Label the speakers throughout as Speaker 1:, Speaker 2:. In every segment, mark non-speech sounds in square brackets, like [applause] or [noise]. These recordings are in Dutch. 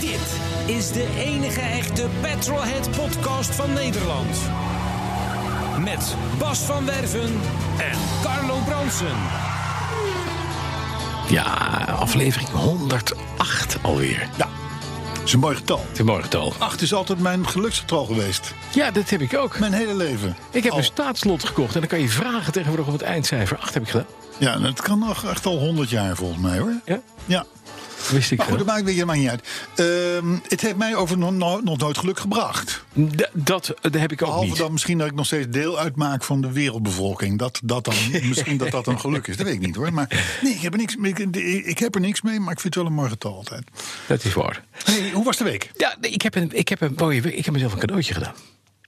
Speaker 1: Dit is de enige echte Petrolhead podcast van Nederland. Met Bas van Werven en Carlo Bronsen.
Speaker 2: Ja, aflevering 108 alweer.
Speaker 3: Ja, dat is een mooi getal.
Speaker 2: Te morgen
Speaker 3: 8 is altijd mijn geluksgetal geweest.
Speaker 2: Ja, dat heb ik ook.
Speaker 3: Mijn hele leven.
Speaker 2: Ik heb
Speaker 3: Al-
Speaker 2: een staatslot gekocht en dan kan je vragen tegenwoordig op het eindcijfer. 8 heb ik gedaan.
Speaker 3: Ja, dat kan nog echt al 100 jaar volgens mij hoor.
Speaker 2: Ja?
Speaker 3: Ja.
Speaker 2: Dat wist ik
Speaker 3: Maar goed,
Speaker 2: wel.
Speaker 3: dat maakt, dat maakt niet uit. Ehm, het heeft mij over nog, nog- nog nooit geluk gebracht.
Speaker 2: D- dat, eh, dat heb ik ook
Speaker 3: Behalve
Speaker 2: niet.
Speaker 3: dan misschien dat ik nog steeds deel uitmaak van de wereldbevolking. Dat, dat dan,
Speaker 2: [laughs]
Speaker 3: misschien dat dat een geluk is. Dat weet ik niet hoor. Maar nee, ik heb er niks, ik, ik heb er niks mee, maar ik vind het wel een mooi getal altijd.
Speaker 2: Dat is waar.
Speaker 3: Hey, hoe was de week?
Speaker 2: Ja, nee, ik heb, een, ik, heb een mooie, week- ik heb mezelf een cadeautje gedaan.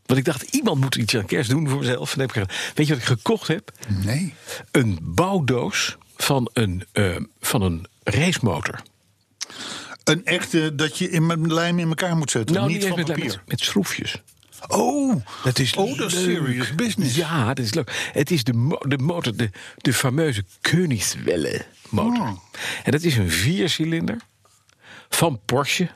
Speaker 2: Want ik dacht, iemand moet iets aan kerst doen voor mezelf. En dat heb ik gedaan. Weet je wat ik gekocht heb?
Speaker 3: Nee.
Speaker 2: Een bouwdoos van een, eh, van een racemotor.
Speaker 3: Een echte dat je in mijn lijm in elkaar moet zetten. niet
Speaker 2: Nou, eens
Speaker 3: van
Speaker 2: met,
Speaker 3: papier.
Speaker 2: met, met schroefjes.
Speaker 3: Oh,
Speaker 2: Dat is
Speaker 3: oh, dat is
Speaker 2: leuk.
Speaker 3: serious business.
Speaker 2: Ja, dat is leuk. Het is de, mo- de motor, de, de fameuze Königswelle motor.
Speaker 3: Oh.
Speaker 2: En dat is een viercilinder van Porsche.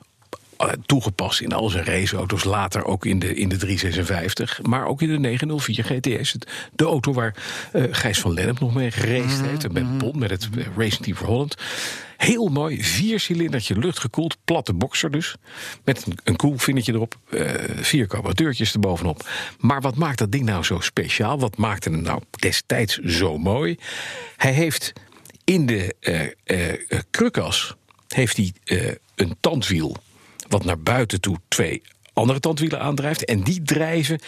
Speaker 2: eh, Toegepast in al zijn raceauto's, later ook in de, in de 356, maar ook in de 904 GTS. Het- De auto waar eh, Gijs van Lennep nog mee geraced heeft. En met Bon, met het eh, Racing Team voor Holland. Heel mooi, viercilindertje, luchtgekoeld, platte boxer dus. Met een, een cool vinnetje erop, eh, vier carburateurtjes erbovenop. Maar wat maakt dat ding nou zo speciaal? Wat maakte hem nou destijds zo mooi? Hij heeft in de eh eh, eh, krukas heeft hij eh, een tandwiel... wat naar buiten toe twee andere tandwielen aandrijft. En die drijven [coughs]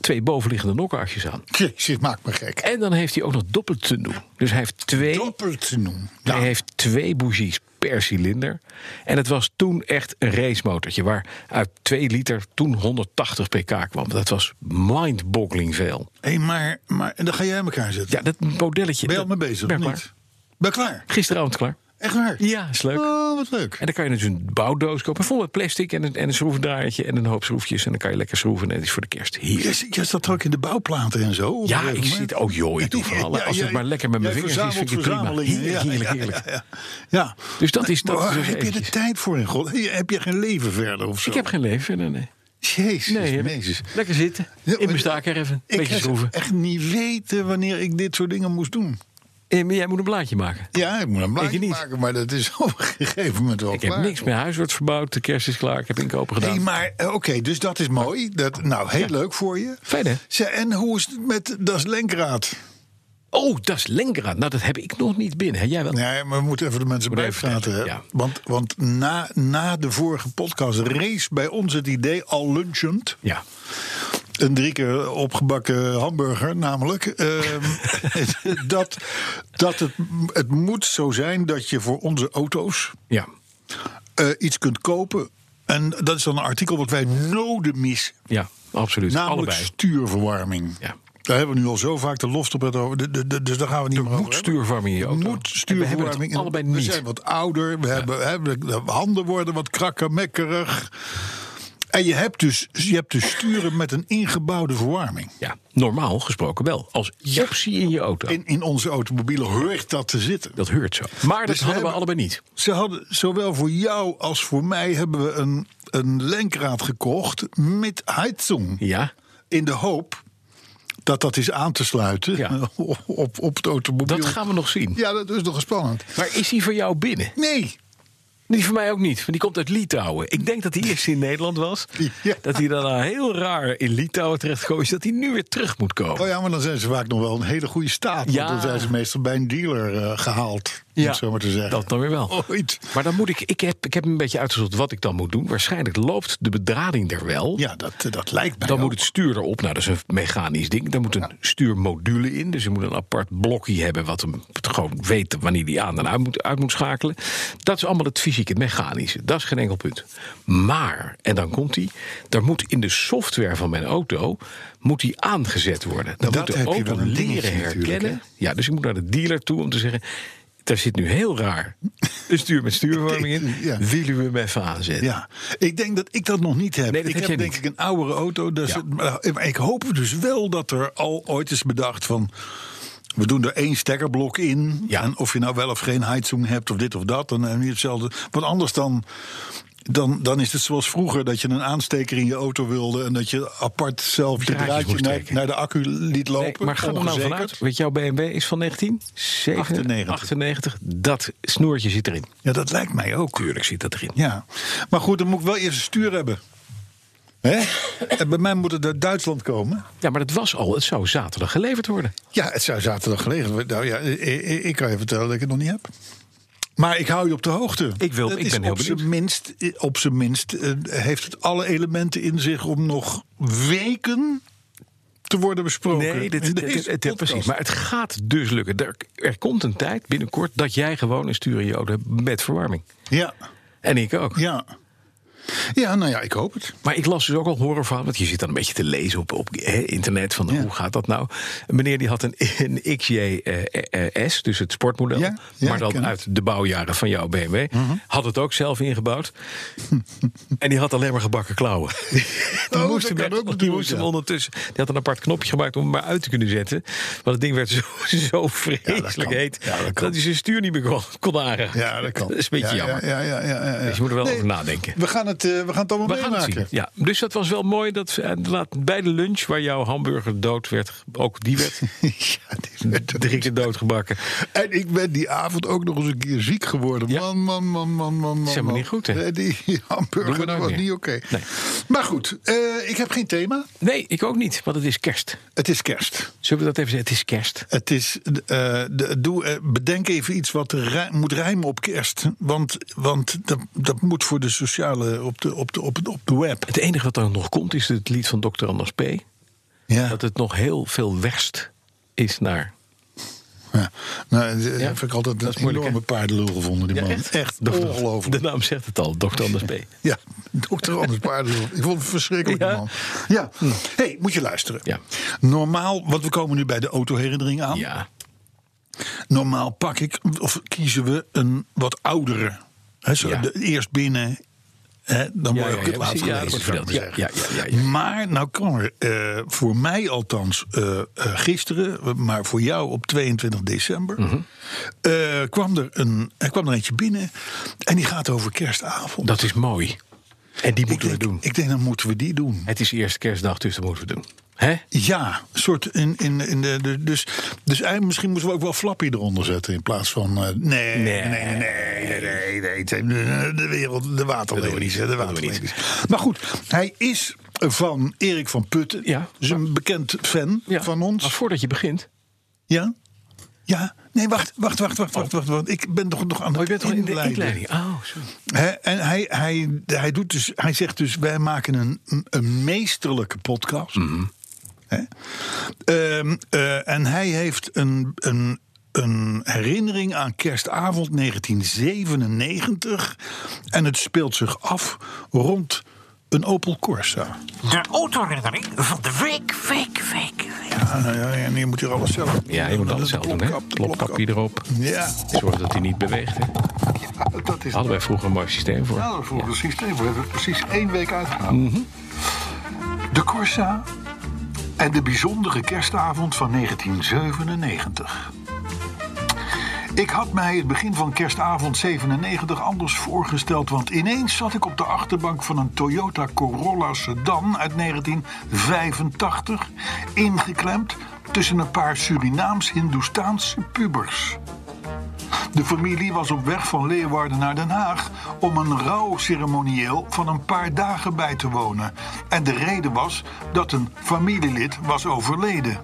Speaker 2: twee bovenliggende nokkenakjes aan.
Speaker 3: Jezus, maakt me gek.
Speaker 2: En dan heeft hij ook nog doppelt te doen. Dus hij heeft twee...
Speaker 3: Doppelt te noemen. Ja.
Speaker 2: Hij heeft twee bougies per cilinder. En het was toen echt een racemotortje. Waar uit 2 liter toen 180 pk kwam. Dat was mind-boggling veel.
Speaker 3: Hé, maar, maar en dan ga jij in elkaar zitten.
Speaker 2: Ja, dat modelletje.
Speaker 3: ben je al
Speaker 2: dat-
Speaker 3: mee bezig?
Speaker 2: ben
Speaker 3: of
Speaker 2: klaar.
Speaker 3: niet? Ben klaar.
Speaker 2: Gisteravond klaar.
Speaker 3: Echt waar?
Speaker 2: Ja, is leuk.
Speaker 3: Oh, wat leuk.
Speaker 2: En dan kan je dus een bouwdoos kopen. Vol met plastic en een, en een schroevendraaiertje en een hoop schroefjes. En dan kan je lekker schroeven. En het is voor de kerst heerlijk.
Speaker 3: Jij jij zat ook in de bouwplaten en zo. op een
Speaker 2: Ja,
Speaker 3: gegeven
Speaker 2: ik
Speaker 3: moment.
Speaker 2: zit. Oh joh, ik doe van alle.
Speaker 3: [laughs] Ja,
Speaker 2: Als het
Speaker 3: jij-
Speaker 2: maar lekker met mijn
Speaker 3: jij
Speaker 2: vingers is, vind ik het prima. [laughs]
Speaker 3: verzamelt verzamelingen.
Speaker 2: Heerlijk, heerlijk,
Speaker 3: Ja,
Speaker 2: heerlijk.
Speaker 3: Ja, ja, ja.
Speaker 2: Dus dat is- dat
Speaker 3: Maar
Speaker 2: is dus
Speaker 3: heb je de
Speaker 2: eventjes.
Speaker 3: tijd voor in God? Hey, Heb je geen leven verder of zo?
Speaker 2: Ik heb geen leven verder, nee.
Speaker 3: Jezus,
Speaker 2: Nee, heb ik-
Speaker 3: Jezus.
Speaker 2: Lekker zitten.
Speaker 3: Ja,
Speaker 2: In
Speaker 3: maar-
Speaker 2: mijn staker even.
Speaker 3: Ik
Speaker 2: Beetje
Speaker 3: heb
Speaker 2: schroeven.
Speaker 3: echt niet weten wanneer ik dit soort dingen moest doen.
Speaker 2: Eh, maar jij moet een blaadje maken.
Speaker 3: Ja, ik moet een blaadje
Speaker 2: niet.
Speaker 3: maken, maar dat is [laughs] op een gegeven moment wel
Speaker 2: Ik heb
Speaker 3: klaar.
Speaker 2: niks. Mijn huis wordt verbouwd. De kerst is klaar. Ik heb inkopen gedaan.
Speaker 3: Hey, maar eh, oké, dus dat is mooi. Dat, nou, heel leuk voor je.
Speaker 2: Fijn, hè?
Speaker 3: Zeg, en hoe is het met Das Lenkraad?
Speaker 2: Oh, dat is Lenkeraad. Nou, dat heb ik nog niet binnen. Hè? Jij wel?
Speaker 3: Nee, maar we moeten even de mensen
Speaker 2: Moet even
Speaker 3: bijpraten. hè.
Speaker 2: vertellen, ja.
Speaker 3: Want, want na, na de vorige podcast race bij ons het idee, al lunchend,
Speaker 2: Ja.
Speaker 3: een drie keer opgebakken hamburger namelijk, ehm,
Speaker 2: [laughs]
Speaker 3: dat, dat het, het moet zo zijn dat je voor onze auto's
Speaker 2: Ja.
Speaker 3: eh, iets kunt kopen. En dat is dan een artikel wat wij noden mis
Speaker 2: Ja, absoluut.
Speaker 3: Namelijk
Speaker 2: Allebei.
Speaker 3: stuurverwarming.
Speaker 2: Ja.
Speaker 3: Daar hebben we nu al zo vaak de loft op het over. De- de- de- dus daar gaan we niet meer over.
Speaker 2: moet
Speaker 3: hebben.
Speaker 2: stuurverwarming in je auto.
Speaker 3: Moet
Speaker 2: En we hebben
Speaker 3: stuurverwarming.
Speaker 2: het allebei
Speaker 3: We
Speaker 2: niet.
Speaker 3: zijn wat ouder. We hebben, hebben- de handen worden wat krakkemekkerig. En je hebt, dus, je hebt dus sturen met een ingebouwde verwarming.
Speaker 2: Ja, normaal gesproken wel. Als optie in je auto.
Speaker 3: In, in onze automobielen hoort dat te zitten.
Speaker 2: Dat heurt zo. Maar dat
Speaker 3: we
Speaker 2: hadden we
Speaker 3: hebben-
Speaker 2: allebei niet.
Speaker 3: Ze hadden, zowel voor jou als voor mij hebben we een, een lenkraad gekocht met heizung.
Speaker 2: Ja.
Speaker 3: in de hoop dat dat is aan te sluiten
Speaker 2: Ja.
Speaker 3: [laughs] op, op het automobiel.
Speaker 2: Dat gaan we nog zien.
Speaker 3: Ja, dat is nogal spannend.
Speaker 2: Maar is die voor jou binnen?
Speaker 3: Nee,
Speaker 2: Die voor mij ook niet, want die komt uit Litouwen. Ik denk dat hij eerst in Nederland was.
Speaker 3: Ja.
Speaker 2: Dat hij daarna heel raar in Litouwen terechtgekomen is. Dat hij nu weer terug moet komen.
Speaker 3: oh ja, maar dan zijn ze vaak nog wel een hele goede staat.
Speaker 2: Ja.
Speaker 3: Want dan zijn ze meestal bij een dealer eh, gehaald. om het zo maar te zeggen.
Speaker 2: Dat dan weer wel.
Speaker 3: Ooit.
Speaker 2: Maar dan moet ik, ik heb, ik heb een beetje uitgezocht wat ik dan moet doen. Waarschijnlijk loopt de bedrading er wel.
Speaker 3: Ja, dat, eh, dat lijkt mij
Speaker 2: Dan
Speaker 3: ook.
Speaker 2: moet het stuur erop. Nou, dat is een mechanisch ding. Daar moet een stuurmodule in. Dus je moet een apart blokje hebben. wat hem gewoon weet wanneer die aan en uit moet, uit moet schakelen. Dat is allemaal het fysieke, het mechanische. Dat is geen enkel punt. Maar, en dan komt die. Er moet in de software van mijn auto. moet die aangezet worden. Dan
Speaker 3: Dat
Speaker 2: moet de
Speaker 3: heb je
Speaker 2: auto
Speaker 3: wel een dingetje
Speaker 2: leren
Speaker 3: natuurlijk,
Speaker 2: herkennen. Ja, dus ik moet naar de dealer toe om te zeggen. Daar zit nu heel raar een stuur met stuurverwarming in.
Speaker 3: [laughs] Ja.
Speaker 2: Willen we hem even aanzetten?
Speaker 3: Ja, ik denk dat ik dat nog niet heb.
Speaker 2: Nee, dat
Speaker 3: ik
Speaker 2: heb
Speaker 3: heb
Speaker 2: jij
Speaker 3: denk
Speaker 2: niet.
Speaker 3: ik een oudere auto. Dus
Speaker 2: Ja.
Speaker 3: het- maar, maar ik hoop dus wel dat er al ooit is bedacht van... We doen er één stekkerblok in.
Speaker 2: Ja.
Speaker 3: En of je nou wel of geen heizung hebt of dit of dat. Dan heb je hetzelfde. Want anders dan, dan, dan is het zoals vroeger dat je een aansteker in je auto wilde. En dat je apart zelf je
Speaker 2: Draadjes
Speaker 3: draadje
Speaker 2: moest
Speaker 3: naar,
Speaker 2: trekken.
Speaker 3: naar de accu liet lopen.
Speaker 2: Nee, maar ga er nou
Speaker 3: ongezekerd.
Speaker 2: vanuit. Want jouw BMW is van 1998. 98. Dat snoertje zit erin.
Speaker 3: Ja, dat lijkt mij ook.
Speaker 2: Tuurlijk zit dat erin.
Speaker 3: Ja, maar goed, dan moet ik wel eerst een stuur hebben. Hè? en bij mij moet het uit Duitsland komen.
Speaker 2: Ja, maar dat was al. Het zou zaterdag geleverd worden.
Speaker 3: Ja, het zou zaterdag gelegen worden. Nou ja, ik, ik- ik kan je vertellen dat ik het nog niet heb. Maar ik hou je op de hoogte.
Speaker 2: Ik wil-
Speaker 3: Het
Speaker 2: ik
Speaker 3: is
Speaker 2: ben heel
Speaker 3: op zijn
Speaker 2: benieuwd.
Speaker 3: Minst, eh, op zijn minst eh, heeft het alle elementen in zich om nog weken te worden besproken.
Speaker 2: dit, dit-
Speaker 3: In deze
Speaker 2: dit- dit-
Speaker 3: podcast.
Speaker 2: precies. Maar het gaat dus lukken. Er, er komt een tijd binnenkort dat jij gewoon een stuur in je auto hebt met verwarming.
Speaker 3: Ja,
Speaker 2: En ik ook.
Speaker 3: ja. Ja, nou ja, ik hoop het.
Speaker 2: Maar ik las dus ook al horrorverhaal, want je zit dan een beetje te lezen op, op hè, internet van
Speaker 3: Ja.
Speaker 2: hoe gaat dat nou. Een meneer die had een, een XJS, dus het sportmodel,
Speaker 3: Ja, ja,
Speaker 2: maar
Speaker 3: ik Mhm. ken
Speaker 2: dan
Speaker 3: het.
Speaker 2: uit de bouwjaren van jouw BMW. Had het ook zelf
Speaker 3: [laughs]
Speaker 2: ingebouwd. en die had alleen maar gebakken klauwen. die
Speaker 3: Oh, dat
Speaker 2: hem-
Speaker 3: kan ook
Speaker 2: die
Speaker 3: natuurlijk,
Speaker 2: moest hem
Speaker 3: ja.
Speaker 2: ondertussen. Die had een apart knopje gemaakt om hem maar uit te kunnen zetten. Want het ding werd [laughs] zo, zo vreselijk
Speaker 3: kan.
Speaker 2: heet
Speaker 3: Ja, dat
Speaker 2: dat,
Speaker 3: kan.
Speaker 2: hij zijn stuur niet meer kon, kon aanraken. [laughs]
Speaker 3: Ja, dat kan.
Speaker 2: is een beetje
Speaker 3: Ja,
Speaker 2: jammer.
Speaker 3: Ja, ja, ja, ja, ja.
Speaker 2: Dus je moet er wel over nadenken.
Speaker 3: We gaan het, eh, we gaan het allemaal
Speaker 2: We gaan het
Speaker 3: meemaken.
Speaker 2: zien. Ja, dus dat was wel mooi. Dat, eh, laat, bij de lunch waar jouw hamburger dood werd, ook die
Speaker 3: [laughs]
Speaker 2: werd
Speaker 3: [laughs] ja, die werd ook-
Speaker 2: drie keer doodgebakken.
Speaker 3: En ik ben die avond ook nog eens een keer ziek geworden.
Speaker 2: Ja.
Speaker 3: Man, man, man, man, man, man.
Speaker 2: is helemaal
Speaker 3: man.
Speaker 2: niet goed, hè?
Speaker 3: Nee, Die [laughs]
Speaker 2: Doen we
Speaker 3: hamburger
Speaker 2: nooit
Speaker 3: was
Speaker 2: meer.
Speaker 3: niet oké.
Speaker 2: Nee.
Speaker 3: Maar goed, eh, ik heb geen thema.
Speaker 2: Nee, ik ook niet, want het is kerst.
Speaker 3: Het is kerst.
Speaker 2: Zullen we dat even zeggen? Het is kerst.
Speaker 3: Het is, eh, de- doe, eh, bedenk even iets wat rij- moet rijmen op kerst. Want, want dat, dat moet voor de sociale, op de, op de, op, de- op de web.
Speaker 2: Het enige wat er nog komt is het lied van Dr. Anders P.
Speaker 3: Ja.
Speaker 2: Dat het nog heel veel werst is naar.
Speaker 3: Ja. Nou, dat
Speaker 2: Ja.
Speaker 3: heb ik altijd
Speaker 2: Dat is
Speaker 3: een
Speaker 2: moeilijk,
Speaker 3: enorme paardenlul gevonden, die man. Echt, ongelooflijk.
Speaker 2: De naam zegt het al, Dr. Anders P.
Speaker 3: Ja, dokter Anders Paardenhof. Ik vond het verschrikkelijk,
Speaker 2: Ja.
Speaker 3: man. Ja. hey, moet je luisteren.
Speaker 2: Ja.
Speaker 3: Normaal, want we komen nu bij de autoherinnering aan.
Speaker 2: Ja,
Speaker 3: Normaal pak ik, of kiezen we een wat oudere. Hè, zo,
Speaker 2: Ja.
Speaker 3: de- eerst binnen, hè, dan
Speaker 2: Ja,
Speaker 3: word
Speaker 2: ja,
Speaker 3: je ook het
Speaker 2: ja,
Speaker 3: laatst
Speaker 2: precies. Ja,
Speaker 3: gelezen,
Speaker 2: dat wordt
Speaker 3: zou ik
Speaker 2: verdeeld.
Speaker 3: maar
Speaker 2: Ja,
Speaker 3: zeggen.
Speaker 2: ja, ja, ja, ja.
Speaker 3: Maar nou kwam er, eh, voor mij althans, eh, eh, gisteren, maar voor jou op 22 december...
Speaker 2: Mhm.
Speaker 3: eh, kwam, er een, er kwam er eentje binnen en die gaat over kerstavond.
Speaker 2: dat is mooi. En die moeten we
Speaker 3: ik denk,
Speaker 2: doen.
Speaker 3: Ik denk, dan moeten we die doen.
Speaker 2: Het is eerst kerstdag, dus dat moeten we doen. Hè?
Speaker 3: Ja, soort in, in, in de, de- dus, dus eigenlijk misschien moeten we ook wel Flappy eronder zetten in plaats van. eh, nee, nee, nee, nee, nee, nee, nee, nee, de wereld, de waterlelies, hè, de waterlelies. Maar goed, hij is van Erik van Putten,
Speaker 2: Ja.
Speaker 3: is een bekend fan
Speaker 2: Ja.
Speaker 3: van
Speaker 2: Maar
Speaker 3: ons.
Speaker 2: voordat je begint.
Speaker 3: Ja, ja. Nee, wacht, wacht, wacht, wacht, wacht, wacht, wacht. Ik ben toch nog aan
Speaker 2: Oh, je
Speaker 3: het
Speaker 2: bent al in de
Speaker 3: inleiden.
Speaker 2: inleiding. Oh, sorry.
Speaker 3: Hè, en hij, hij, hij, doet dus, hij zegt dus, wij maken een, een meesterlijke podcast.
Speaker 2: Mhm.
Speaker 3: Hè? Ehm, eh, en hij heeft een, een, een herinnering aan kerstavond 1997. En het speelt zich af rond een Opel Corsa.
Speaker 4: De autoherinnering van de week, week, week.
Speaker 3: Ja, nou ja, en je moet hier alles zelf doen.
Speaker 2: Ja, je moet
Speaker 3: Dat
Speaker 2: alles
Speaker 3: is de
Speaker 2: zelf doen, hè?
Speaker 3: plopkap, de
Speaker 2: Plopkapje
Speaker 3: plopkap.
Speaker 2: erop.
Speaker 3: Ja,
Speaker 2: Zorg dat hij niet beweegt, hè?
Speaker 3: dat is
Speaker 2: Hadden wij vroeger een mooi systeem voor.
Speaker 3: Nou, voor het systeem. We hebben het precies één week uitgehouden. De Corsa en de bijzondere kerstavond van 1997. Ik had mij het begin van kerstavond 97 anders voorgesteld... want ineens zat ik op de achterbank van een Toyota Corolla sedan uit 1985... ingeklemd tussen een paar Surinaams-Hindoestaanse pubers... De familie was op weg van Leeuwarden naar Den Haag om een rouwceremonieel van een paar dagen bij te wonen. En de reden was dat een familielid was overleden.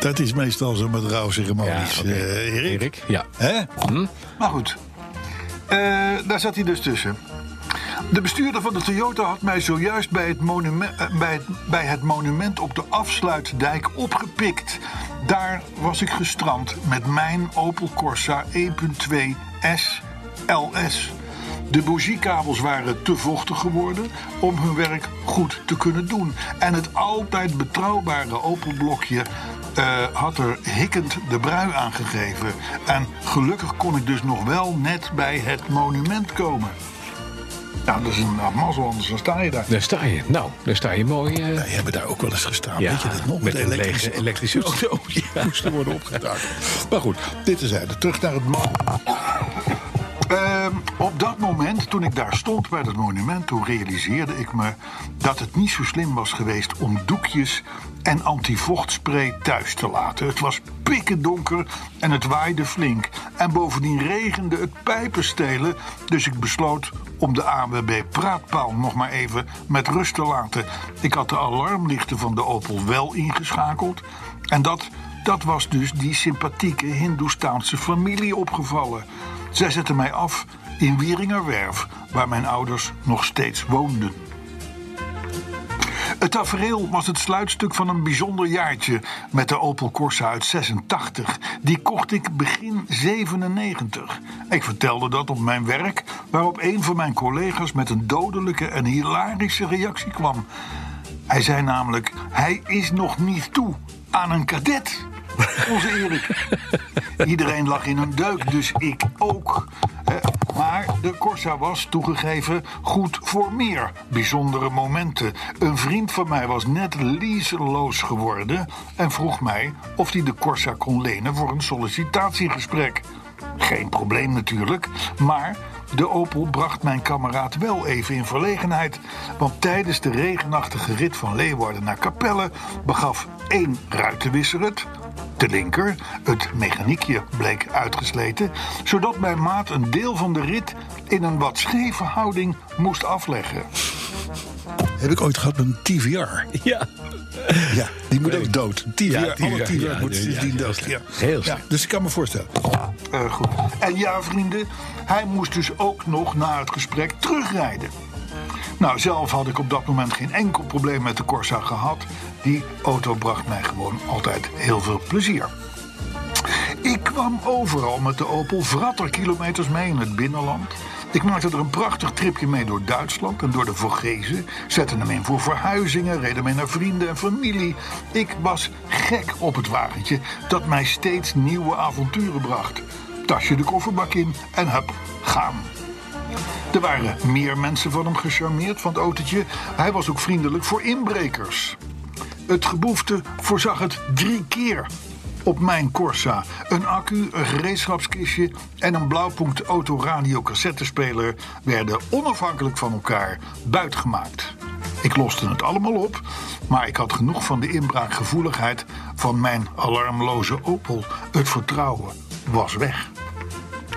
Speaker 5: Dat is meestal zo met rouwceremonies,
Speaker 2: oké.
Speaker 5: eh, Erik.
Speaker 2: Erik? Ja.
Speaker 5: Hè?
Speaker 3: Hm? Maar goed, Eh, daar zat hij dus tussen. De bestuurder van de Toyota had mij zojuist bij het, monume- eh, bij, het, bij het monument op de afsluitdijk opgepikt. Daar was ik gestrand met mijn Opel Corsa 1.2 S LS. De bogiekabels waren te vochtig geworden om hun werk goed te kunnen doen. En het altijd betrouwbare Opel-blokje eh, had er hikkend de brui aangegeven. En gelukkig kon ik dus nog wel net bij het monument komen. Nou, dat is een nou, mazzel, anders dan sta je daar.
Speaker 2: Daar sta je. Nou, daar sta je mooi. eh,
Speaker 5: Wij hebben daar ook wel eens gestaan.
Speaker 2: Ja,
Speaker 5: Weet je dat nog?
Speaker 2: met een
Speaker 5: elektrische-
Speaker 2: lege elektrische
Speaker 5: [laughs]
Speaker 2: auto.
Speaker 5: auto. Die moesten worden opgetakeld. Maar goed, dit is hij. Terug naar het man.
Speaker 3: Ehm, op dat moment, toen ik daar stond bij dat monument, toen realiseerde ik me dat het niet zo slim was geweest om doekjes en antivochtspray thuis te laten. Het was pikken donker en het waaide flink. En bovendien regende het pijpenstelen, dus ik besloot om de ANWB praatpaal nog maar even met rust te laten. Ik had de alarmlichten van de Opel wel ingeschakeld en dat, dat was dus die sympathieke Hindoestaanse familie opgevallen. Zij zetten mij af in Wieringerwerf, waar mijn ouders nog steeds woonden. Het tafereel was het sluitstuk van een bijzonder jaartje met de Opel Corsa uit 86. Die kocht ik begin 97. Ik vertelde dat op mijn werk, waarop een van mijn collega's met een dodelijke en hilarische reactie kwam. Hij zei namelijk: Hij is nog niet toe aan een kadet. Onze Erik. Iedereen lag in een deuk, dus ik ook. Eh, Maar de Corsa was toegegeven goed voor meer bijzondere momenten. Een vriend van mij was net leaseloos geworden en vroeg mij of hij de Corsa kon lenen voor een sollicitatiegesprek. Geen probleem natuurlijk, maar de Opel bracht mijn kameraad wel even in verlegenheid. Want tijdens de regenachtige rit van Leeuwarden naar Capelle begaf één ruitenwisser het. De linker, het mechaniekje, bleek uitgesleten, zodat mijn maat een deel van de rit in een wat scheve houding moest afleggen.
Speaker 5: Heb ik ooit gehad met een TVR.
Speaker 2: Ja.
Speaker 5: Ja, die moet ook dood. Een TVR,
Speaker 2: Ja,
Speaker 5: alle
Speaker 2: TVR,
Speaker 5: TVR
Speaker 2: ja,
Speaker 5: moeten
Speaker 2: ja,
Speaker 5: sindsdien
Speaker 2: ja,
Speaker 5: dood.
Speaker 2: ja.
Speaker 5: Ja.
Speaker 2: Heel
Speaker 5: ja,
Speaker 2: slecht.
Speaker 5: Dus ik kan me voorstellen.
Speaker 3: Eh, goed. En ja, vrienden, hij moest dus ook nog na het gesprek terugrijden. Nou, zelf had ik op dat moment geen enkel probleem met de Corsa gehad. Die auto bracht mij gewoon altijd heel veel plezier. Ik kwam overal met de Opel vratter kilometers mee in het binnenland. Ik maakte er een prachtig tripje mee door Duitsland en door de Vogezen. Zette hem in voor verhuizingen, reed hem mee naar vrienden en familie. Ik was gek op het wagentje dat mij steeds nieuwe avonturen bracht. Tasje de kofferbak in en hup, gaan. Er waren meer mensen van hem gecharmeerd van het autootje. Hij was ook vriendelijk voor inbrekers. Het geboefte voorzag het drie keer op mijn Corsa. Een accu, een gereedschapskistje en een blauwpunkt autoradio cassettespeler werden onafhankelijk van elkaar buitgemaakt. Ik loste het allemaal op, maar ik had genoeg van de inbraakgevoeligheid van mijn alarmloze Opel. Het vertrouwen was weg.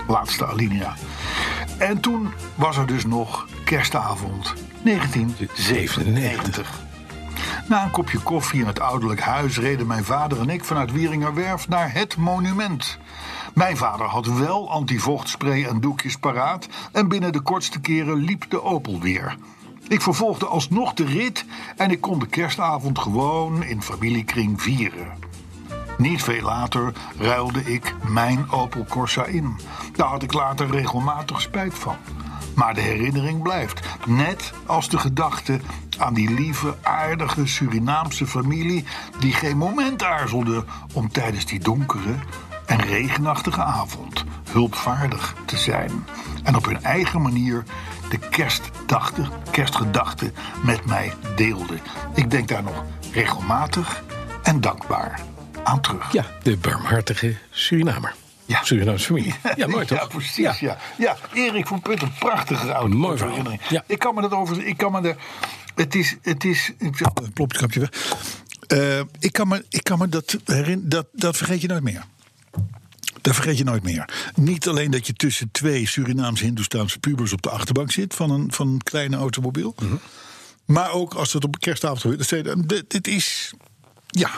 Speaker 3: Laatste alinea. En toen was er dus nog kerstavond 1997. Na een kopje koffie in het ouderlijk huis reden mijn vader en ik vanuit Wieringerwerf naar het monument. Mijn vader had wel antivochtspray en doekjes paraat en binnen de kortste keren liep de Opel weer. Ik vervolgde alsnog de rit en ik kon de kerstavond gewoon in familiekring vieren. Niet veel later ruilde ik mijn Opel Corsa in. Daar had ik later regelmatig spijt van. Maar de herinnering blijft. Net als de gedachte aan die lieve, aardige Surinaamse familie... die geen moment aarzelde om tijdens die donkere en regenachtige avond... hulpvaardig te zijn. En op hun eigen manier de kerstdachte, kerstgedachte met mij deelden. Ik denk daar nog regelmatig en dankbaar aan terug.
Speaker 2: ja, de barmhartige Surinamer.
Speaker 3: Ja.
Speaker 2: Surinaamse familie.
Speaker 5: [laughs]
Speaker 2: Ja, mooi toch?
Speaker 3: Ja, precies. Ja. Ja. Erik van Putten, een prachtige auto.
Speaker 2: Mooi verhaal. Ja.
Speaker 3: Ik kan me dat over... Ik kan me de, het is... Het is ik-
Speaker 5: Het plopkapje weg. Eh, ik kan me, ik kan me dat, herin, dat, dat vergeet je nooit meer. Dat vergeet je nooit meer. Niet alleen dat je tussen twee Surinaams-Hindoestaanse pubers op de achterbank zit van een, van een kleine automobiel.
Speaker 2: Mhm.
Speaker 5: Maar ook als dat op een kerstavond gebeurt. dan zeg je, dit, dit is. Ja,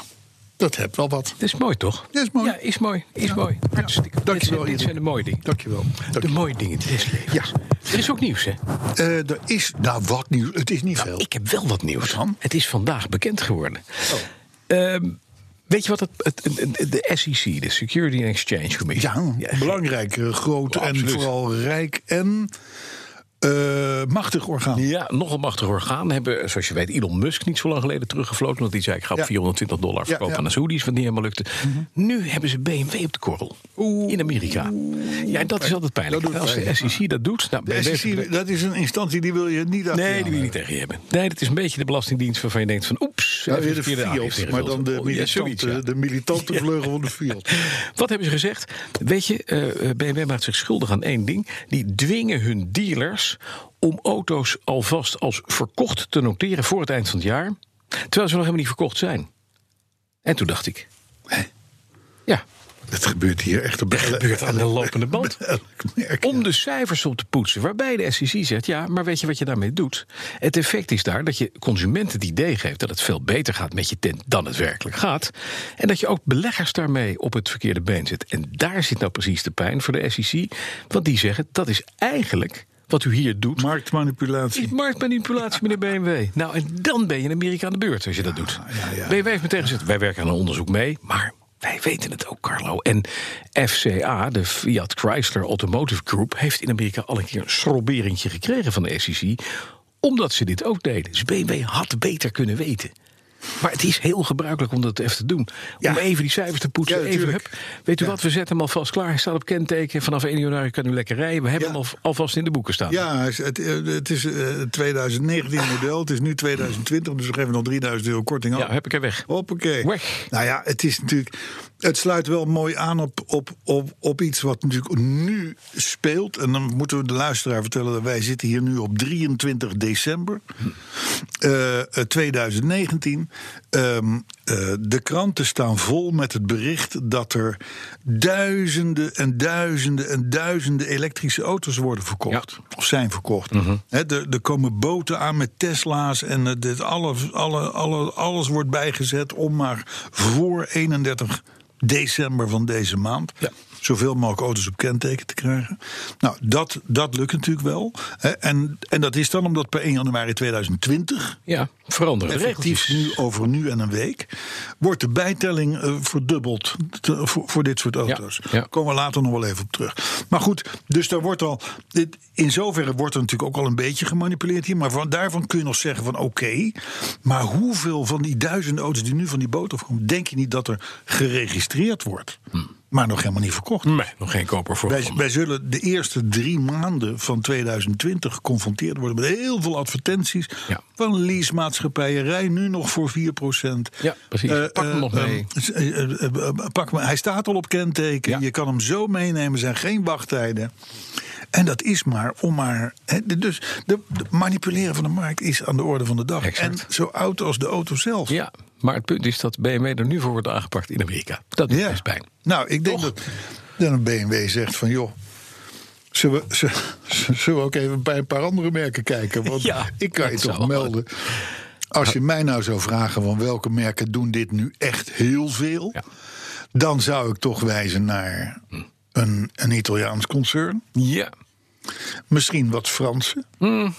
Speaker 3: Dat hebt wel wat.
Speaker 2: Dat is mooi, toch?
Speaker 3: Dat is mooi.
Speaker 2: Ja, is mooi. Is
Speaker 3: Ja.
Speaker 2: mooi.
Speaker 3: Ja.
Speaker 2: Hartstikke.
Speaker 3: Dankjewel,
Speaker 2: Dit zijn, dit
Speaker 3: Erik.
Speaker 2: zijn de mooie dingen.
Speaker 3: Dankjewel.
Speaker 2: De
Speaker 3: Dankjewel.
Speaker 2: mooie dingen des levens. Er is ook nieuws, hè?
Speaker 3: Eh er is, nou wat nieuws, het is niet veel.
Speaker 2: Ik heb wel wat nieuws.
Speaker 3: dan? Oh.
Speaker 2: Het is vandaag bekend geworden. Ehm, weet je wat het, het- het- de SEC, de Security and Exchange Commission...
Speaker 3: Ja, belangrijk, eh, groot
Speaker 2: Oh,
Speaker 3: en
Speaker 2: absoluut.
Speaker 3: vooral rijk en eh, machtig orgaan.
Speaker 2: Ja, nogal machtig orgaan. Hebben, zoals je weet, Elon Musk niet zo lang geleden teruggefloten. Want die zei, ik ga op
Speaker 3: Ja.
Speaker 2: 420 dollar verkopen
Speaker 3: ja. Mhm.
Speaker 2: aan de Saoedi's. Wat niet helemaal lukte. Nu hebben ze BMW op de korrel. In Amerika. Ja, en dat is altijd pijnlijk.
Speaker 3: Dat doet
Speaker 2: Als de
Speaker 3: pijn.
Speaker 2: SEC dat doet... Nou,
Speaker 3: De
Speaker 2: BMW
Speaker 3: SEC, dat is een instantie die wil je niet achteraan
Speaker 2: Nee, die wil je niet tegen je hebben. Nee, dat is een beetje de Belastingdienst waarvan je denkt van oeps.
Speaker 3: Nou,
Speaker 2: even
Speaker 3: weer de
Speaker 2: verkeerde aangifte
Speaker 3: Fiat, maar
Speaker 2: ingevuld.
Speaker 3: dan de
Speaker 2: Oh, ja, zoiets,
Speaker 3: militante,
Speaker 2: [laughs] ja.
Speaker 3: de militante vleugel van de Fiat.
Speaker 2: Wat hebben ze gezegd? Weet je, eh, eh, BMW maakt zich schuldig aan één ding. Die dwingen hun dealers om auto's alvast als verkocht te noteren voor het eind van het jaar. Terwijl ze nog helemaal niet verkocht zijn. En toen dacht ik. Ja,
Speaker 3: Dat gebeurt hier echt op
Speaker 2: dat gebeurt aan de lopende band.
Speaker 3: elk merk.
Speaker 2: Om de cijfers op te poetsen. Waarbij de SEC zegt: ja, maar weet je wat je daarmee doet? Het effect is daar dat je consumenten het idee geeft dat het veel beter gaat met je tent dan het werkelijk gaat. En dat je ook beleggers daarmee op het verkeerde been zet. En daar zit nou precies de pijn voor de SEC. Want die zeggen: dat is eigenlijk wat u hier doet.
Speaker 3: Marktmanipulatie.
Speaker 2: Is marktmanipulatie, meneer BMW. Nou, en dan ben je in Amerika aan de beurt als je dat doet.
Speaker 3: ja, ja.
Speaker 2: BMW heeft meteen gezegd, wij werken aan een onderzoek mee, maar wij weten het ook, Carlo. En FCA, de Fiat Chrysler Automotive Group... heeft in Amerika al een keer een schrobberingtje gekregen van de SEC... omdat ze dit ook deden. Dus BMW had beter kunnen weten. Maar het is heel gebruikelijk om dat even te doen. Om even die cijfers te poetsen.
Speaker 3: Ja,
Speaker 2: even,
Speaker 3: natuurlijk.
Speaker 2: hup. Weet u wat, we zetten hem alvast klaar. Hij staat op kenteken. Vanaf 1 januari kan u lekker rijden. We hebben
Speaker 3: Ja.
Speaker 2: hem al- alvast in de boeken staan.
Speaker 3: Ja, hij is- het, eh, het is eh, 2019 model, het is nu 2020, dus we geven nog 3000 euro korting af.
Speaker 2: Ja, heb ik er weg.
Speaker 3: Hoppakee.
Speaker 2: Weg.
Speaker 3: Nou ja, het is natuurlijk. Het sluit wel mooi aan op, op, op, op iets wat natuurlijk nu speelt. En dan moeten we de luisteraar vertellen dat wij zitten hier nu op 23 december eh, eh, 2019. Ehm, eh, de kranten staan vol met het bericht dat er duizenden en duizenden en duizenden elektrische auto's worden verkocht. Of zijn verkocht. Hè, er, er komen boten aan met Tesla's en eh, dit, alle, alle, alle, alles wordt bijgezet om maar voor 31 december van deze maand. Zoveel mogelijk auto's op kenteken te krijgen. Nou, dat, dat lukt natuurlijk wel. Hè, En, en dat is dan omdat per 1 januari 2020
Speaker 2: Ja, veranderen. de
Speaker 3: effectief
Speaker 2: regels.
Speaker 3: nu over nu en een week, wordt de bijtelling eh, verdubbeld te- voor, voor dit soort auto's.
Speaker 2: ja.
Speaker 3: Komen we later nog wel even op terug. Maar goed, dus daar wordt al, dit, in zoverre wordt er natuurlijk ook al een beetje gemanipuleerd hier, maar van, daarvan kun je nog zeggen van oké, maar hoeveel van die duizenden auto's die nu van die boot afkomen, denk je niet dat er geregistreerd wordt,
Speaker 2: Hm.
Speaker 3: maar nog helemaal niet verkocht?
Speaker 2: Nee, nog geen koper voor.
Speaker 3: Wij, wij zullen de eerste drie maanden van 2020 geconfronteerd worden met heel veel advertenties
Speaker 2: Ja.
Speaker 3: van leasemaatschappijen. Rij nu nog voor 4%.
Speaker 2: Ja, precies.
Speaker 3: Eh,
Speaker 2: Pak hem
Speaker 3: eh,
Speaker 2: nog mee.
Speaker 3: eh, eh, eh, eh, eh, pak hem. Hij staat al op kenteken.
Speaker 2: Ja.
Speaker 3: Je kan hem zo meenemen. Er zijn geen wachttijden. En dat is maar om maar. hè, de- dus de, de manipuleren van de markt is aan de orde van de dag.
Speaker 2: Exact.
Speaker 3: En zo oud als de auto zelf.
Speaker 2: Ja, maar het punt is dat BMW er nu voor wordt aangepakt in Amerika. Dat doet
Speaker 3: Ja.
Speaker 2: best pijn.
Speaker 3: Nou, ik denk dat, dat een BMW zegt van joh. Zullen we, zullen, zullen we ook even bij een paar andere merken kijken? Want
Speaker 2: Ja,
Speaker 3: ik kan je
Speaker 2: dat zou
Speaker 3: toch
Speaker 2: wel
Speaker 3: melden. Als je mij nou zou vragen van welke merken doen dit nu echt heel veel.
Speaker 2: Ja.
Speaker 3: Dan zou ik toch wijzen naar een, een Italiaans concern.
Speaker 2: Ja.
Speaker 3: Misschien wat Fransen.
Speaker 2: Mhm.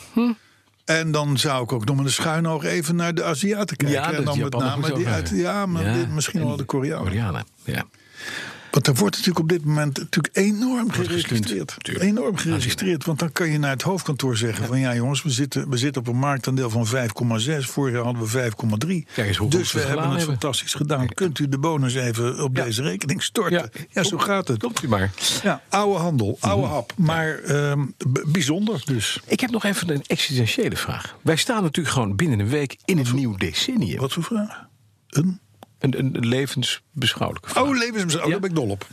Speaker 3: En dan zou ik ook nog met een schuin oog even naar de Aziaten kijken.
Speaker 2: Ja, dat
Speaker 3: en dan met
Speaker 2: Japan moet
Speaker 3: name
Speaker 2: zo
Speaker 3: die
Speaker 2: gaan.
Speaker 3: uit, ja, maar
Speaker 2: Ja,
Speaker 3: dit- misschien
Speaker 2: en
Speaker 3: wel de Koreanen.
Speaker 2: Koreanen. Ja.
Speaker 3: Want er wordt natuurlijk op dit moment natuurlijk enorm geregistreerd.
Speaker 2: gestund, tuurlijk.
Speaker 3: Enorm geregistreerd. Want dan kan je naar het hoofdkantoor zeggen: van ja, jongens, we zitten, we zitten op een marktaandeel van 5,6. Vorig jaar hadden we 5,3.
Speaker 2: Kijk eens hoe goed
Speaker 3: dus
Speaker 2: we
Speaker 3: we
Speaker 2: het
Speaker 3: hebben
Speaker 2: gedaan
Speaker 3: het
Speaker 2: hebben.
Speaker 3: fantastisch gedaan. Kunt u de bonus even op deze rekening storten? eh, Ja, Mhm.
Speaker 2: Ja.
Speaker 3: zo gaat het.
Speaker 2: Komt u maar.
Speaker 3: Ja, oude handel, oude hap. Maar ehm, b- bijzonder dus.
Speaker 2: Ik heb nog even een existentiële vraag. Wij staan natuurlijk gewoon binnen een week in een nieuw decennium.
Speaker 3: Wat voor vraag? Een?
Speaker 2: Een, een levensbeschouwelijke vraag.
Speaker 3: Oh, levensbeschouwing, daar ben ik dol op.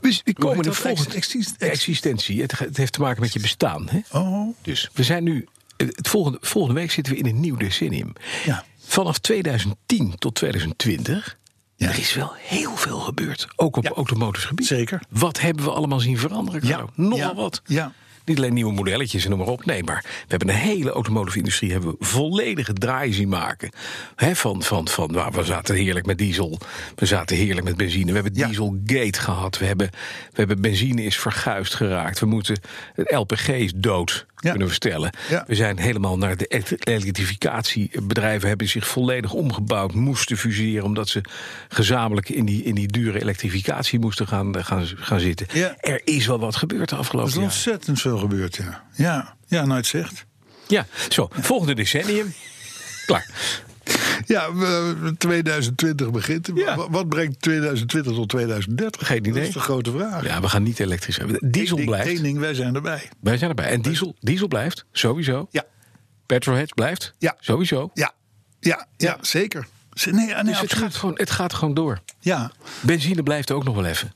Speaker 2: Dus we komen
Speaker 3: heet
Speaker 2: in een
Speaker 3: dat?
Speaker 2: volgende
Speaker 3: Exist- ex-
Speaker 2: existentie. Het, ge- het heeft te maken met je bestaan. Hè?
Speaker 3: Oh.
Speaker 2: Dus we zijn nu. Het volgende, volgende week zitten we in een nieuw decennium.
Speaker 3: Ja.
Speaker 2: Vanaf 2010 tot 2020.
Speaker 3: Ja.
Speaker 2: Er is wel heel veel gebeurd. Ook op
Speaker 3: Ja.
Speaker 2: automotive gebied.
Speaker 3: Zeker.
Speaker 2: Wat hebben we allemaal zien veranderen? Carlo? Nogal
Speaker 3: ja,
Speaker 2: wat.
Speaker 3: Ja.
Speaker 2: Niet alleen nieuwe modelletjes en noem maar op. Nee, maar we hebben een hele automotive industrie hebben we volledige draai zien maken. Hè, van, van, van nou, we zaten heerlijk met diesel. We zaten heerlijk met benzine. We hebben
Speaker 3: Ja.
Speaker 2: dieselgate gehad. We hebben, we hebben benzine is verguisd geraakt. We moeten, het LPG is dood,
Speaker 3: Ja.
Speaker 2: kunnen we stellen.
Speaker 3: Ja.
Speaker 2: We zijn helemaal naar de elekt- elektrificatie. Bedrijven hebben zich volledig omgebouwd, moesten fuseren... omdat ze gezamenlijk in die, in die dure elektrificatie moesten gaan, gaan, gaan zitten.
Speaker 3: Ja.
Speaker 2: Er is wel wat gebeurd de
Speaker 3: Er
Speaker 2: afgelopen
Speaker 3: is
Speaker 2: jaren.
Speaker 3: ontzettend veel gebeurd, ja. Ja, ja nou, het zegt.
Speaker 2: Ja, zo, volgende decennium. Klaar.
Speaker 3: Ja, we- 2020 begint.
Speaker 2: Ja.
Speaker 3: Wa- Wat brengt 2020 tot 2030?
Speaker 2: Geen idee.
Speaker 3: Dat is de grote vraag.
Speaker 2: Ja, we gaan niet elektrisch hebben. Diesel
Speaker 3: Eén ding-
Speaker 2: blijft.
Speaker 3: Eén ding, wij zijn erbij.
Speaker 2: Wij zijn erbij. En diesel, diesel blijft, sowieso.
Speaker 3: Ja.
Speaker 2: Petrolheads blijft,
Speaker 3: Ja.
Speaker 2: sowieso.
Speaker 3: Ja, ja, ja, zeker. Z- Nee, nee
Speaker 2: Dus het
Speaker 3: absoluut.
Speaker 2: gaat, gewoon, het gaat gewoon door.
Speaker 3: Ja,
Speaker 2: Benzine blijft ook nog wel even.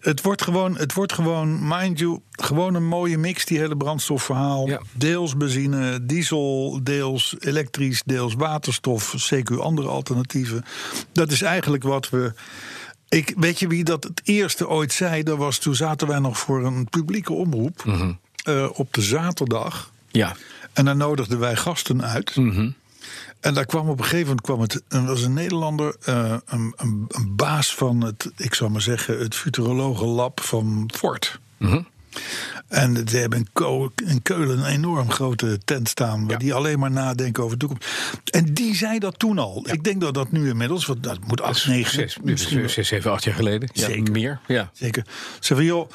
Speaker 3: het wordt, gewoon, het wordt gewoon, mind you, gewoon een mooie mix, die hele brandstofverhaal.
Speaker 2: Ja.
Speaker 3: Deels benzine, diesel, deels elektrisch, deels waterstof, CQ andere alternatieven. Dat is eigenlijk wat we. Ik, weet je wie dat het eerste ooit zei? Dat was toen zaten wij nog voor een publieke omroep eh, op de zaterdag.
Speaker 2: Ja.
Speaker 3: En daar nodigden wij gasten uit. En daar kwam op een gegeven moment kwam het, er was een Nederlander, eh, een, een, een baas van het, ik zou maar zeggen, het futurologenlab van Ford. En ze hebben in, Ko- in Keulen een enorm grote tent staan. Waar die alleen maar nadenken over de toekomst. En die zei dat toen al. Ik denk dat dat nu inmiddels, want dat moet acht, negen,
Speaker 2: Zes,
Speaker 3: misschien wel-
Speaker 2: zes, zes, zeven, acht jaar geleden. Ja,
Speaker 3: Zeker.
Speaker 2: Meer, ja.
Speaker 3: Zeker. Zeg van, joh,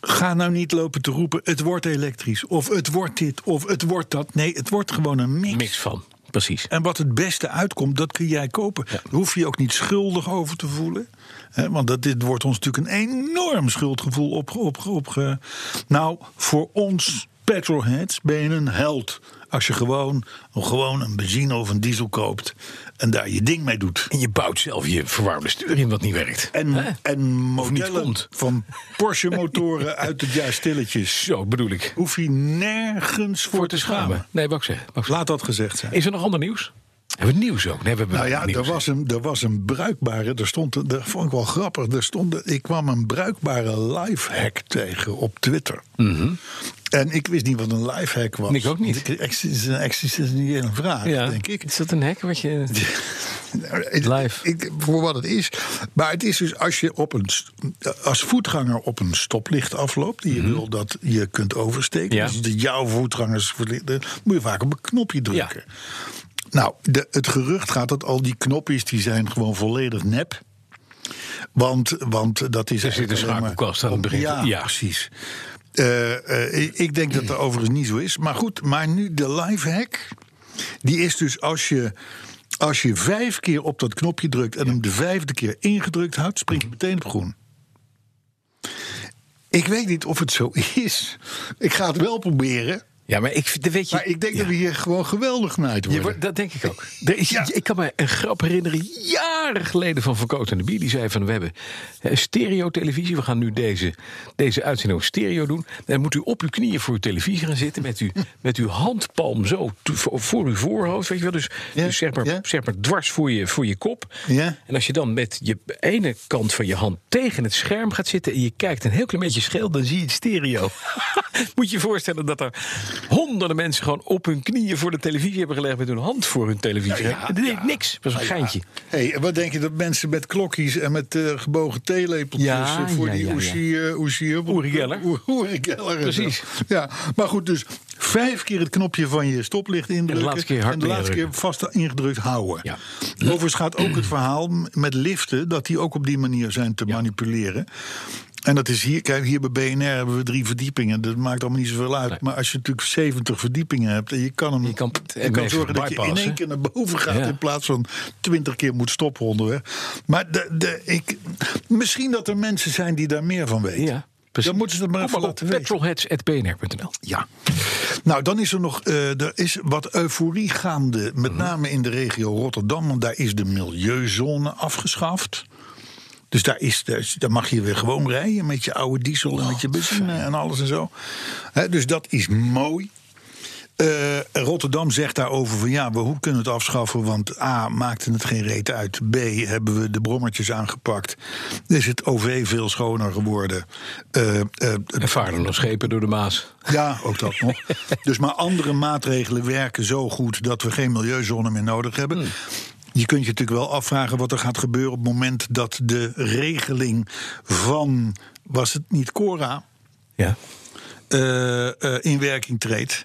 Speaker 3: ga nou niet lopen te roepen... het wordt elektrisch, of het wordt dit, of het wordt dat. Nee, het wordt gewoon een mix.
Speaker 2: Mix van, precies.
Speaker 3: En wat het beste uitkomt, dat kun jij kopen. Daar hoef je je ook niet schuldig over te voelen. Hè, want dat, dit wordt ons natuurlijk een enorm schuldgevoel opge... Op, opge- nou, voor ons petrolheads ben je een held... als je gewoon, gewoon een benzine of een diesel koopt... en daar je ding mee doet.
Speaker 2: En je bouwt zelf je verwarmde stuur in wat niet werkt. Hè?
Speaker 3: En, en modellen
Speaker 2: komt.
Speaker 3: van Porsche motoren uit het jaar stilletjes.
Speaker 2: Zo bedoel ik.
Speaker 3: Hoef je nergens voor, te schamen.
Speaker 2: Nee, wou ik zeggen. wou ik zeggen.
Speaker 3: Laat dat gezegd zijn.
Speaker 2: Is er nog ander nieuws? Hebben we nieuws ook? Nee, we hebben
Speaker 3: Nou ja,
Speaker 2: weinig
Speaker 3: er
Speaker 2: nieuws.
Speaker 3: was een, er was een bruikbare, er stond, een- dat vond ik wel grappig, er stond, ik kwam een bruikbare lifehack tegen op Twitter. En ik wist niet wat een lifehack was.
Speaker 2: Ik ook niet.
Speaker 3: Het is een existentiële vraag,
Speaker 2: ja.
Speaker 3: denk ik.
Speaker 2: Is dat een hek wat je...
Speaker 3: Nou, het-
Speaker 2: [laughs] Live.
Speaker 3: Ik, voor wat het is. Maar het is dus als je op een, st- als voetganger op een stoplicht afloopt. en je wil dat je kunt oversteken.
Speaker 2: Mhm. Ja.
Speaker 3: Dus de, jouw voetgangers. dan moet je vaak op een knopje drukken. Nou, de, het gerucht gaat dat al die knopjes. die zijn gewoon volledig nep. Want, want dat is.
Speaker 2: Er zit een
Speaker 3: eigenlijk alleen maar-
Speaker 2: schakelkast aan het begin.
Speaker 3: Ja,
Speaker 2: Ja.
Speaker 3: precies. Eh, eh, ik denk dat dat overigens niet zo is. Maar goed, maar nu de lifehack. Die is dus als je, als je vijf keer op dat knopje drukt en hem de vijfde keer ingedrukt houdt, springt
Speaker 2: Mhm.
Speaker 3: hij meteen op groen. Ik weet niet of het zo is. Ik ga het wel proberen.
Speaker 2: Ja, maar ik, vind- weet je...
Speaker 3: Maar ik denk
Speaker 2: Ja.
Speaker 3: dat we hier gewoon geweldig naaid
Speaker 2: Je
Speaker 3: worden.
Speaker 2: wordt- dat denk ik ook. Er is,
Speaker 3: Ja.
Speaker 2: Ik kan me een grap herinneren, jaren geleden van Verkoot en de Bier. Die zei van, we hebben eh, stereo-televisie. We gaan nu deze, deze uitzending op stereo doen. Dan moet u op uw knieën voor uw televisie gaan zitten... met,
Speaker 3: [laughs]
Speaker 2: u, met uw handpalm zo to- voor, voor uw voorhoofd. Weet je wel? Dus,
Speaker 3: Ja,
Speaker 2: dus zeg, maar,
Speaker 3: ja.
Speaker 2: zeg maar dwars voor je, voor je kop.
Speaker 3: Ja.
Speaker 2: En als je dan met je ene kant van je hand tegen het scherm gaat zitten... en je kijkt een heel klein beetje scheel, dan zie je het
Speaker 3: [laughs]
Speaker 2: stereo. Moet je je voorstellen dat er honderden mensen... gewoon op hun knieën voor de televisie hebben gelegd... met hun hand voor hun televisie.
Speaker 3: Nou ja,
Speaker 2: dat deed niks. Dat was een geintje.
Speaker 3: Hey, en wat denk je dat mensen met klokjes en met eh, gebogen theelepeltjes
Speaker 2: Ja,
Speaker 3: eh, voor
Speaker 2: ja,
Speaker 3: die
Speaker 2: ja, ja.
Speaker 3: Oesie... eh, Oesie-
Speaker 2: Uri Geller.
Speaker 3: Oer- Uri Geller en
Speaker 2: Precies.
Speaker 3: zo. Ja, maar goed, dus vijf keer het knopje van je stoplicht indrukken.
Speaker 2: laatste keer hard
Speaker 3: en de laatste keer
Speaker 2: neerdrukken.
Speaker 3: vast ingedrukt houden.
Speaker 2: Ja.
Speaker 3: Overigens gaat ook het verhaal m- met liften... dat die ook op die manier zijn te manipuleren. En dat is hier, kijk, hier bij BNR hebben we drie verdiepingen. Dat maakt allemaal niet zoveel uit. Maar als je natuurlijk 70 verdiepingen hebt en je kan hem. Je
Speaker 2: kan-
Speaker 3: je kan
Speaker 2: even
Speaker 3: zorgen dat je in
Speaker 2: bypassen.
Speaker 3: één keer naar boven gaat.
Speaker 2: Ja.
Speaker 3: In plaats van twintig keer moet stoppen onderweg. Maar de, de, ik, misschien dat er mensen zijn die daar meer van weten.
Speaker 2: Ja, precies.
Speaker 3: Dan moeten ze dat maar even laten weten.
Speaker 2: Petrolheads.bnr.nl
Speaker 3: Ja. Nou, dan is er nog eh, er is wat euforie gaande. Met name in de regio Rotterdam. Want daar is de milieuzone afgeschaft. Dus daar, is, daar is- daar mag je weer gewoon rijden met je oude diesel en met je benzine en alles en zo. Hè, dus dat is mooi. Eh, Rotterdam zegt daarover van ja, we hoe kunnen het afschaffen? Want A, maakte het geen reet uit. B, hebben we de brommertjes aangepakt. Is het OV veel schoner geworden? Eh, eh,
Speaker 2: En varen nog schepen door de Maas.
Speaker 3: ja, ook dat nog. Dus maar andere maatregelen werken zo goed dat we geen milieuzone meer nodig hebben. Je kunt je natuurlijk wel afvragen wat er gaat gebeuren op het moment dat de regeling van, was het niet Cora,
Speaker 2: Ja.
Speaker 3: eh, eh, in werking treedt.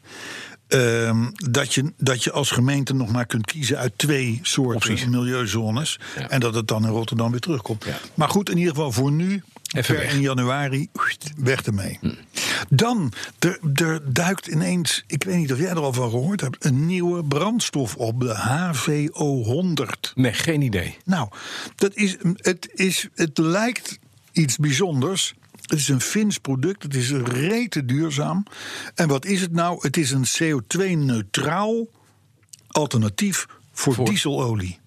Speaker 3: Ehm, dat, je, dat je als gemeente nog maar kunt kiezen uit twee soorten
Speaker 2: Opties.
Speaker 3: milieuzones.
Speaker 2: Ja.
Speaker 3: En dat het dan in Rotterdam weer terugkomt.
Speaker 2: Ja.
Speaker 3: Maar goed, in ieder geval voor nu.
Speaker 2: Even
Speaker 3: per
Speaker 2: weg. Hm.
Speaker 3: 1 januari, oeit, weg ermee. Dan, er, er duikt ineens, ik weet niet of jij er al van gehoord hebt... een nieuwe brandstof op, de HVO100.
Speaker 2: Nee, geen idee.
Speaker 3: Nou, dat is, het, is, het lijkt iets bijzonders. Het is een Fins product, het is rete duurzaam. En wat is het nou? Het is een CO2-neutraal alternatief voor,
Speaker 2: Voor-
Speaker 3: dieselolie.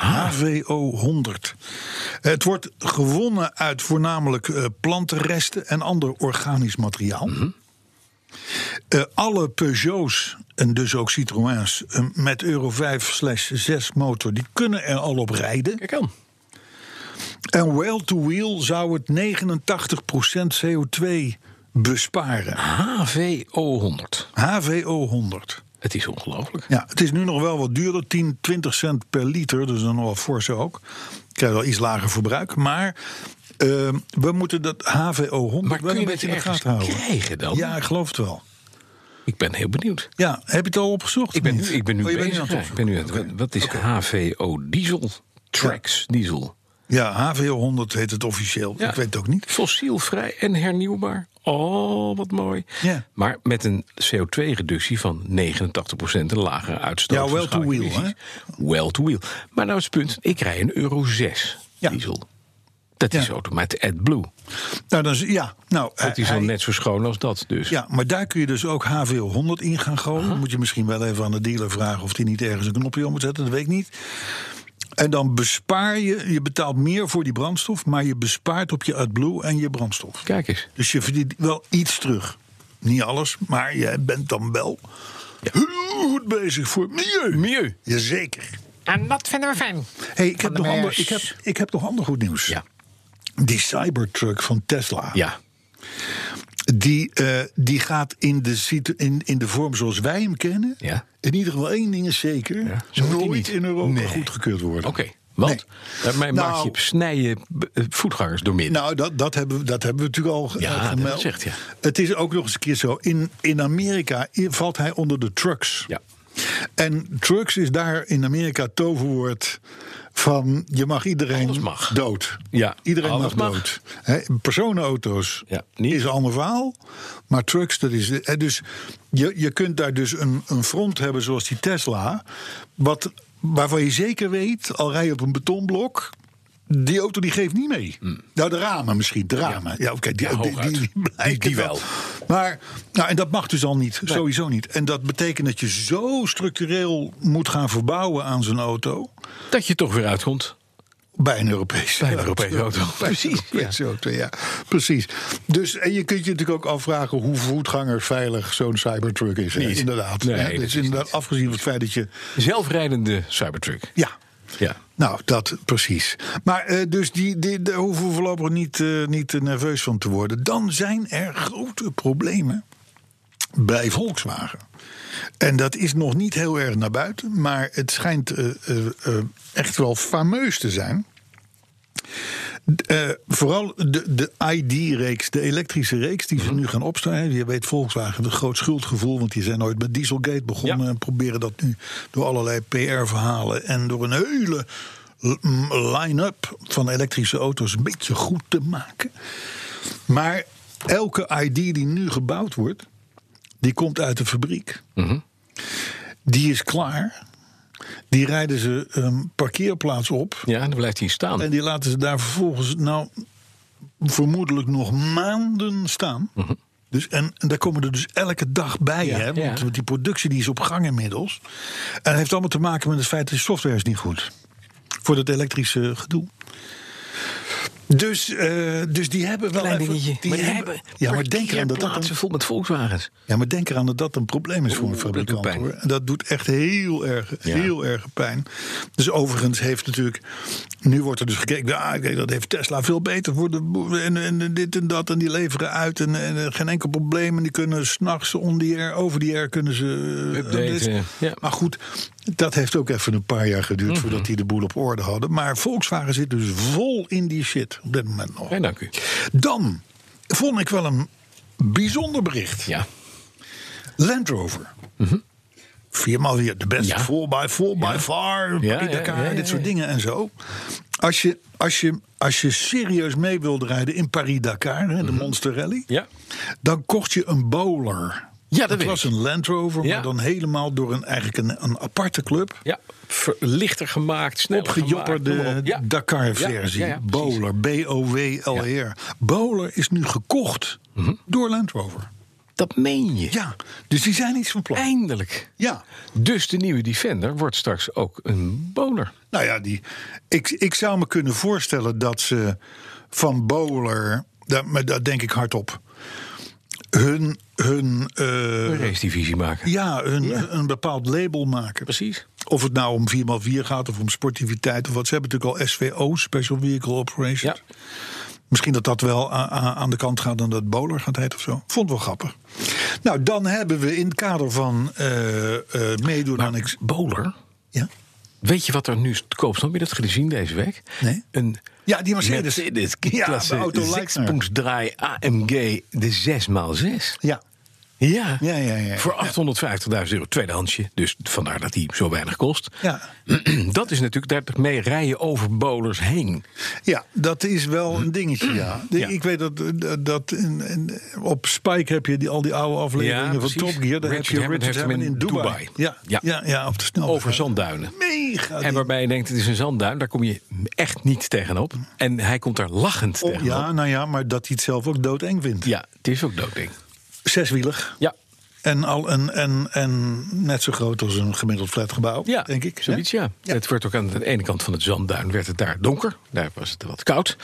Speaker 3: HVO 100. Het wordt gewonnen uit voornamelijk eh, plantenresten en ander organisch materiaal. Eh, alle Peugeots en dus ook Citroëns eh, met Euro 5/6 motor, die kunnen er al op rijden.
Speaker 2: Kijk aan.
Speaker 3: En well-to-wheel zou het 89% CO2 besparen.
Speaker 2: HVO 100.
Speaker 3: HVO 100.
Speaker 2: Het is ongelooflijk.
Speaker 3: Ja, het is nu nog wel wat duurder, 10, 20 cent per liter, dus dan nog wel forse ook. Ik krijg wel iets lager verbruik, maar eh, we moeten dat HVO 100
Speaker 2: Maar
Speaker 3: wel
Speaker 2: kun
Speaker 3: een
Speaker 2: je
Speaker 3: beetje
Speaker 2: het
Speaker 3: in de
Speaker 2: ergens
Speaker 3: gaten houden.
Speaker 2: krijgen dan?
Speaker 3: Ja, ik geloof het wel.
Speaker 2: Ik ben heel benieuwd.
Speaker 3: Ja, heb je het al opgezocht?
Speaker 2: Ik ben,
Speaker 3: of
Speaker 2: nu-
Speaker 3: niet?
Speaker 2: ik ben nu
Speaker 3: Oh, je bent
Speaker 2: bezig.
Speaker 3: aan het
Speaker 2: ja, ik ben nu aan het-
Speaker 3: opzoeken. Oké.
Speaker 2: Wat is HVO diesel? Trax diesel.
Speaker 3: Ja, HVO 100 heet het officieel. Ik weet het ook niet.
Speaker 2: Fossielvrij en hernieuwbaar. Oh, wat mooi.
Speaker 3: Ja.
Speaker 2: Maar met een CO2-reductie van 89% een lagere uitstoot.
Speaker 3: Ja, well to wheel,
Speaker 2: hè? Well to wheel. Maar nou is het punt, ik rij een euro 6
Speaker 3: Ja.
Speaker 2: diesel. Dat
Speaker 3: Ja.
Speaker 2: is automatisch AdBlue.
Speaker 3: Nou, dan, is- ja, nou,
Speaker 2: Dat
Speaker 3: hij-
Speaker 2: is al
Speaker 3: hij-
Speaker 2: net zo schoon als dat dus.
Speaker 3: Ja, maar daar kun je dus ook HVO 100 in gaan gooien. Moet je misschien wel even aan de dealer vragen of die niet ergens een knopje om moet zetten, dat weet ik niet. En dan bespaar je, je betaalt meer voor die brandstof, maar je bespaart op je AdBlue en je brandstof.
Speaker 2: Kijk eens.
Speaker 3: Dus je verdient wel iets terug. Niet alles, maar je bent dan wel heel goed bezig voor het milieu.
Speaker 2: Milieu.
Speaker 3: Jazeker.
Speaker 4: En dat vinden we fijn.
Speaker 3: Hey, ik, heb
Speaker 4: de
Speaker 3: nog ander,
Speaker 4: mers.
Speaker 3: ik, heb, ik heb nog ander goed nieuws.
Speaker 2: Ja.
Speaker 3: Die Cybertruck van Tesla.
Speaker 2: Ja.
Speaker 3: Die, eh, die gaat in de, situ- in, in de vorm zoals wij hem kennen.
Speaker 2: Ja.
Speaker 3: In ieder geval één ding is zeker.
Speaker 2: Ja, zo wordt die
Speaker 3: nooit
Speaker 2: niet.
Speaker 3: in Europa
Speaker 2: Nee.
Speaker 3: goedgekeurd worden.
Speaker 2: Oké, want
Speaker 3: Nee.
Speaker 2: daarmee maak
Speaker 3: Nou-
Speaker 2: je snijden eh, voetgangers door midden.
Speaker 3: Nou, dat, dat, hebben we, dat hebben we natuurlijk al ge-
Speaker 2: Ja,
Speaker 3: al
Speaker 2: dat
Speaker 3: gemeld.
Speaker 2: zegt, ja.
Speaker 3: Het is ook nog eens een keer zo. In, in Amerika i- valt hij onder de trucks.
Speaker 2: Ja.
Speaker 3: En trucks is daar in Amerika het toverwoord van je mag iedereen
Speaker 2: Alles mag.
Speaker 3: dood.
Speaker 2: Ja,
Speaker 3: iedereen
Speaker 2: alles mag.
Speaker 3: mag, dood. Hè, personenauto's
Speaker 2: Ja, niet.
Speaker 3: is een ander verhaal. Maar trucks, dat is. hè, Dus je, je kunt daar dus een, een front hebben zoals die Tesla. Wat, waarvan je zeker weet, al rij je op een betonblok. Die auto die geeft niet mee. Nou, de ramen misschien, de ramen. Ja, oké, die,
Speaker 2: Ja,
Speaker 3: die,
Speaker 2: hooguit.
Speaker 3: die, die
Speaker 2: Die-
Speaker 3: blijken
Speaker 2: die
Speaker 3: wel.
Speaker 2: wel.
Speaker 3: Maar, nou, en dat mag dus al niet, sowieso niet. En dat betekent dat je zo structureel moet gaan verbouwen aan zo'n auto.
Speaker 2: Dat je toch weer uitkomt
Speaker 3: Bij een Europese
Speaker 2: bij een Europese auto.
Speaker 3: [laughs]
Speaker 2: Precies. Ja.
Speaker 3: Europese auto, ja. Precies. Dus, en je kunt je natuurlijk ook afvragen hoe voetganger veilig zo'n Cybertruck is. hè?
Speaker 2: Niet.
Speaker 3: Inderdaad.
Speaker 2: Nee,
Speaker 3: hè?
Speaker 2: dat
Speaker 3: dus
Speaker 2: is
Speaker 3: inderdaad, afgezien van het feit dat je.
Speaker 2: Zelfrijdende Cybertruck.
Speaker 3: Ja.
Speaker 2: Ja.
Speaker 3: Nou, dat precies. Maar eh, dus die, die, daar hoeven we voorlopig niet, eh, niet eh, nerveus van te worden. Dan zijn er grote problemen bij Volkswagen. En dat is nog niet heel erg naar buiten, maar het schijnt eh, eh, eh, echt wel fameus te zijn. Eh, vooral de, de ID-reeks, de elektrische reeks die ze nu gaan opstaan. Je weet, Volkswagen heeft een groot schuldgevoel, want die zijn ooit met Dieselgate begonnen.
Speaker 2: Ja.
Speaker 3: En proberen dat nu door allerlei PR-verhalen en door een hele l- m- line-up van elektrische auto's een beetje goed te maken. Maar elke ID die nu gebouwd wordt, die komt uit de fabriek. Die is klaar. Die rijden ze een parkeerplaats op.
Speaker 2: ja, dan blijft hij staan.
Speaker 3: En die laten ze daar vervolgens, nou, vermoedelijk nog maanden staan. Dus, en, en daar komen er dus elke dag bij.
Speaker 2: Mhm. Ja,
Speaker 3: hè? Want,
Speaker 2: ja.
Speaker 3: want die productie die is op gang inmiddels. En het heeft allemaal te maken met het feit dat de software is niet goed. Voor dat elektrische gedoe. Dus, eh, dus die hebben wel.
Speaker 2: Klein
Speaker 3: even-
Speaker 2: dingetje.
Speaker 3: die hebben, ja, maar denk eraan dat dat
Speaker 2: plaatsen
Speaker 3: een, Oh.
Speaker 2: vol met Volkswagens.
Speaker 3: ja, maar denk eraan dat dat een probleem is voor een
Speaker 2: Oeh, dat doet
Speaker 3: fabrikant.
Speaker 2: pijn.
Speaker 3: hoor. En dat doet echt heel erg,
Speaker 2: Ja.
Speaker 3: heel erg pijn. Dus overigens heeft natuurlijk. Nu wordt er dus gekeken. Ah, kijk, dat heeft Tesla veel beter. Voor de, en, en dit en dat. En die leveren uit. En, en, eh, geen enkel probleem. En die kunnen s'nachts over die air kunnen ze. eh,
Speaker 2: Updaten,
Speaker 3: dit.
Speaker 2: ja. Mhm.
Speaker 3: Maar goed, dat heeft ook even een paar jaar geduurd voordat die de boel op orde hadden. Maar Volkswagen zit dus vol in die shit op dit moment nog.
Speaker 2: En dank u.
Speaker 3: Dan vond ik wel een bijzonder bericht.
Speaker 2: Ja.
Speaker 3: Land Rover. Viermaal weer de beste
Speaker 2: Mhm. Ja.
Speaker 3: 4x4, by far,
Speaker 2: Ja,
Speaker 3: Paris
Speaker 2: ja,
Speaker 3: Dakar,
Speaker 2: ja, ja,
Speaker 3: dit soort
Speaker 2: ja.
Speaker 3: dingen en zo. Als je, als, je, als je serieus mee wilde rijden in Paris-Dakar, hè, de Monster Rally,
Speaker 2: Mhm. Ja.
Speaker 3: dan kocht je een bowler.
Speaker 2: Ja, dat
Speaker 3: dat
Speaker 2: weet
Speaker 3: was
Speaker 2: ik.
Speaker 3: een Land Rover,
Speaker 2: Ja.
Speaker 3: maar dan helemaal door een, eigenlijk een, een aparte club.
Speaker 2: Ja. Ver- lichter gemaakt, sneller gemaakt,
Speaker 3: Opgejopperde
Speaker 2: noem maar op. Ja.
Speaker 3: Dakar-versie.
Speaker 2: Ja, ja, ja, precies.
Speaker 3: Bowler, B-O-W-L-E-R. E Bowler is nu gekocht
Speaker 2: Mhm.
Speaker 3: door Land Rover.
Speaker 2: Dat meen je.
Speaker 3: Ja, dus die zijn iets van plan.
Speaker 2: Eindelijk.
Speaker 3: Ja,
Speaker 2: Dus de nieuwe Defender wordt straks ook een bowler.
Speaker 3: nou ja, die, ik, ik zou me kunnen voorstellen dat ze van Bowler, dat, maar dat denk ik hardop, hun, hun, eh,
Speaker 2: Een race divisie maken.
Speaker 3: ja, hun een bepaald label maken.
Speaker 2: Precies.
Speaker 3: Of het nou om 4x4 gaat of om sportiviteit of wat. Ze hebben natuurlijk al SVO, Special Vehicle Operations.
Speaker 2: Ja.
Speaker 3: Misschien dat dat wel a- a- aan de kant gaat dan dat Bowler gaat heten of zo. Vond ik wel grappig. Nou, dan hebben we in het kader van eh, eh, meedoen aan... Ex-
Speaker 2: Bowler.
Speaker 3: ja?
Speaker 2: Weet je wat er nu te koop stond? Heb je dat gezien deze week?
Speaker 3: Nee.
Speaker 2: Een
Speaker 3: ja, die Mercedes.
Speaker 2: Mercedes
Speaker 3: ja, de
Speaker 2: G-klasse
Speaker 3: auto Leitner.
Speaker 2: 6.3 AMG de 6x6.
Speaker 3: Ja,
Speaker 2: Ja.
Speaker 3: Ja, ja, ja.
Speaker 2: Voor 850.000 euro, tweedehandsje. Dus vandaar dat die zo weinig kost.
Speaker 3: ja.
Speaker 2: [clears throat] Dat is natuurlijk, daarmee rij je over bolers heen.
Speaker 3: ja, dat is wel een dingetje, ja. De-
Speaker 2: Ja.
Speaker 3: Ik weet dat, dat- dat in, in- op Spike heb je die, al die oude afleveringen
Speaker 2: Ja,
Speaker 3: van
Speaker 2: precies.
Speaker 3: Top Gear. Daar heb
Speaker 2: Richard
Speaker 3: je
Speaker 2: Hammond
Speaker 3: Richard
Speaker 2: heeft hem
Speaker 3: Hammond in
Speaker 2: in
Speaker 3: Dubai.
Speaker 2: Dubai.
Speaker 3: Ja, ja.
Speaker 2: Ja.
Speaker 3: Ja, op de snelweg.
Speaker 2: Over zandduinen.
Speaker 3: Mega
Speaker 2: En
Speaker 3: ding.
Speaker 2: waarbij je denkt, het is een zandduin, daar kom je echt niet tegenop. En hij komt daar lachend
Speaker 3: Oh,
Speaker 2: tegenop.
Speaker 3: ja, nou ja, maar dat hij het zelf ook doodeng vindt.
Speaker 2: Ja, het is ook doodeng.
Speaker 3: Zeswielig.
Speaker 2: Ja,
Speaker 3: En, al een, en, en net zo groot als een gemiddeld flatgebouw,
Speaker 2: ja,
Speaker 3: denk ik.
Speaker 2: Zoiets, ja. Het werd ook aan de ene kant van het zandduin werd het daar donker. Daar was het wat koud.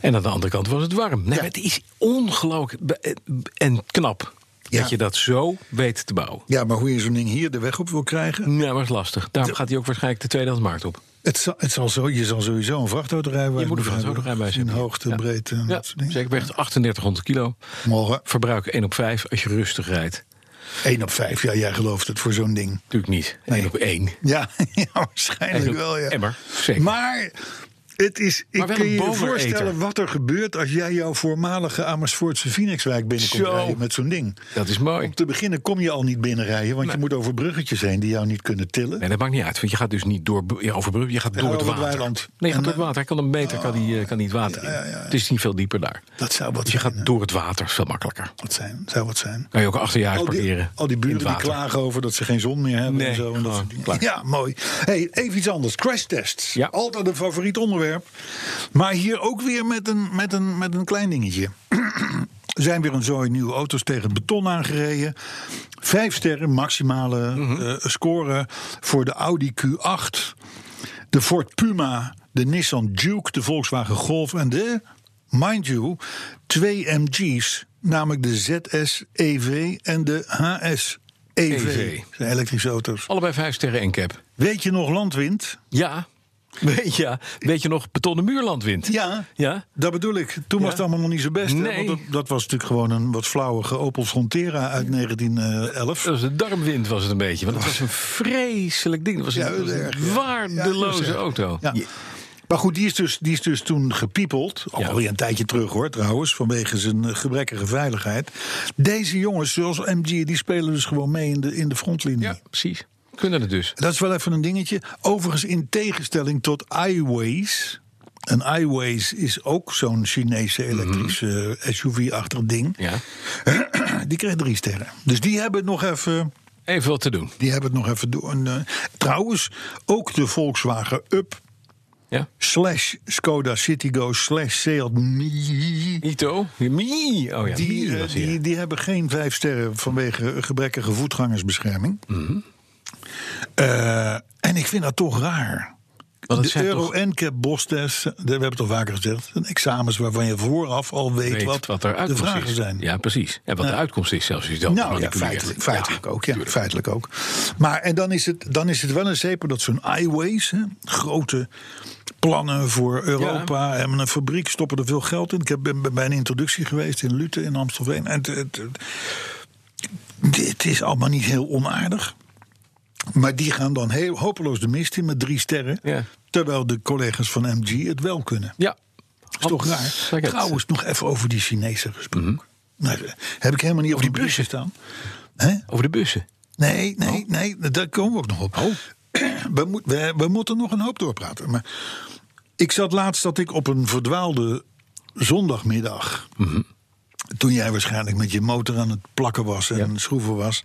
Speaker 2: En aan de andere kant was het warm. Nou,
Speaker 3: Ja.
Speaker 2: Het is ongelooflijk be- eh, en knap
Speaker 3: Ja.
Speaker 2: dat je dat zo weet te bouwen.
Speaker 3: Ja, maar hoe je zo'n ding hier de weg op wil krijgen...
Speaker 2: Ja, maar het is lastig. Daarom gaat hij ook waarschijnlijk de tweedehandsmarkt op.
Speaker 3: Het zal, het zal zo, je zal sowieso een vrachtautorijbewijs
Speaker 2: Je moet een vrachtautorijbewijs
Speaker 3: In
Speaker 2: hebben.
Speaker 3: hoogte,
Speaker 2: Ja.
Speaker 3: breedte en
Speaker 2: Ja,
Speaker 3: dat soort dingen.
Speaker 2: zeker weegt 3800 kilo.
Speaker 3: Morgen.
Speaker 2: Verbruik 1 op 5 als je rustig rijdt.
Speaker 3: 1 op 5, ja, jij gelooft het voor zo'n ding.
Speaker 2: Natuurlijk niet. 1 op 1.
Speaker 3: Ja, [laughs] ja waarschijnlijk
Speaker 2: Eigenlijk
Speaker 3: wel, ja.
Speaker 2: emmer, zeker.
Speaker 3: Maar het is, ik
Speaker 2: Maar wel
Speaker 3: kun
Speaker 2: een
Speaker 3: je je
Speaker 2: boveneter.
Speaker 3: voorstellen wat er gebeurt... als jij jouw voormalige Amersfoortse Phoenixwijk binnenkomt
Speaker 2: Zo.
Speaker 3: rijden met zo'n ding.
Speaker 2: Dat is mooi.
Speaker 3: Om te beginnen kom je al niet binnenrijden... want je moet over bruggetjes heen die jou niet kunnen tillen.
Speaker 2: Nee, dat maakt niet uit. Want je gaat dus niet door, ja, over Brugge, je gaat door
Speaker 3: over
Speaker 2: het
Speaker 3: het
Speaker 2: water.
Speaker 3: weiland.
Speaker 2: Nee, je gaat
Speaker 3: En, eh, Ah.
Speaker 2: door het water. Hij kan een meter, kan, die, eh, kan niet water in. Het is niet veel dieper daar.
Speaker 3: Dat zou wat
Speaker 2: Dus je
Speaker 3: zijn,
Speaker 2: gaat door het water, is veel makkelijker.
Speaker 3: Wat zijn, zou wat zijn.
Speaker 2: Kan je ook achter je huis
Speaker 3: Al Oh, die,
Speaker 2: parkeren.
Speaker 3: al die
Speaker 2: in
Speaker 3: buren
Speaker 2: het
Speaker 3: die
Speaker 2: water.
Speaker 3: klagen over dat ze geen zon meer hebben
Speaker 2: Nee,
Speaker 3: en zo. En dat
Speaker 2: gewoon
Speaker 3: soort dingen.
Speaker 2: klaar.
Speaker 3: ja, mooi. Hey, even iets anders. Crashtests.
Speaker 2: Ja.
Speaker 3: Altijd een favoriet onderwerp. Maar hier ook weer met een, met een, met een klein dingetje. [clears throat] Er zijn weer een zooi nieuwe auto's tegen het beton aangereden. Vijf sterren maximale
Speaker 2: Mhm.
Speaker 3: eh, score voor de Audi Q8. De Ford Puma, de Nissan Duke, de Volkswagen Golf en de, mind you, twee MG's. Namelijk de ZS EV en de HS EV.
Speaker 2: EV.
Speaker 3: Dat zijn elektrische auto's.
Speaker 2: Allebei vijf sterren en cap.
Speaker 3: Weet je nog landwind?
Speaker 2: Ja. [laughs] Weet je, weet je nog betonnen muurlandwind?
Speaker 3: Ja.
Speaker 2: Ja?
Speaker 3: Dat bedoel ik. Toen was het allemaal nog niet zo best. hè?
Speaker 2: Nee.
Speaker 3: Want dat, dat was natuurlijk gewoon een wat flauwige Opel Frontera uit eh, 1911.
Speaker 2: Dat was de darmwind was het een beetje. Want het was een vreselijk ding. Dat was een,
Speaker 3: Ja,
Speaker 2: dat was een
Speaker 3: erg, ja. Ja, dat
Speaker 2: waardeloze
Speaker 3: is erg.
Speaker 2: auto.
Speaker 3: Ja. Maar goed, die is dus, die is dus toen gepiepeld.
Speaker 2: Ja.
Speaker 3: Alweer een tijdje terug hoor, trouwens. Vanwege zijn eh, gebrekkige veiligheid. Deze jongens, zoals MG, die spelen dus gewoon mee in de, in de frontlinie.
Speaker 2: ja, precies. Kunnen het dus.
Speaker 3: Dat is wel even een dingetje. Overigens, in tegenstelling tot iWays. En iWays is ook zo'n Chinese elektrische eh, SUV-achtig ding.
Speaker 2: Mhm. Ja.
Speaker 3: [clears throat] Die kreeg drie sterren. Dus die hebben het nog even.
Speaker 2: Even wat te doen.
Speaker 3: Die hebben het nog even door. En, eh, trouwens, ook de Volkswagen Up
Speaker 2: Ja.
Speaker 3: slash Skoda Citigo slash Seat Mii.
Speaker 2: Ito. Mie. Oh ja,
Speaker 3: Die,
Speaker 2: Mii
Speaker 3: eh,
Speaker 2: was
Speaker 3: die,
Speaker 2: hier.
Speaker 3: die hebben geen vijf sterren vanwege gebrekkige
Speaker 2: Mhm.
Speaker 3: voetgangersbescherming. Eh, en ik vind dat toch raar.
Speaker 2: Want het
Speaker 3: de
Speaker 2: zijn
Speaker 3: euro
Speaker 2: toch-
Speaker 3: NCAP BOS-test, we hebben het al vaker gezegd, zijn examens waarvan je vooraf al weet,
Speaker 2: weet
Speaker 3: wat,
Speaker 2: wat er
Speaker 3: de vragen
Speaker 2: is.
Speaker 3: zijn.
Speaker 2: Ja, precies. En wat de uitkomst is zelfs. Is dat
Speaker 3: Nou ja,
Speaker 2: manipuleert.
Speaker 3: feitelijk, feitelijk
Speaker 2: Ja,
Speaker 3: ook. Ja,
Speaker 2: tuurlijk.
Speaker 3: feitelijk ook. Maar en dan is het, dan is het wel een zeper dat zo'n iWays, hè, grote plannen voor Europa en een fabriek stoppen er veel geld in. Ik heb, ben bij een introductie geweest in Lutte in Amstelveen. En het, het, het- het is allemaal niet heel onaardig. Maar die gaan dan heel hopeloos de mist in met drie sterren.
Speaker 2: Ja.
Speaker 3: Terwijl de collega's van MG het wel kunnen.
Speaker 2: Ja.
Speaker 3: Dat is toch raar? Trouwens, nog even over die Chinezen gesproken. Nou, daar heb ik helemaal niet op die bussen Oh. staan. Hè?
Speaker 2: Over de bussen.
Speaker 3: Nee, nee, nee, daar komen we ook nog op. [clears throat] We, moet- we, we moeten nog een hoop doorpraten. Maar ik zat laatst dat ik op een verdwaalde zondagmiddag. Toen jij waarschijnlijk met je motor aan het plakken was en schroeven was,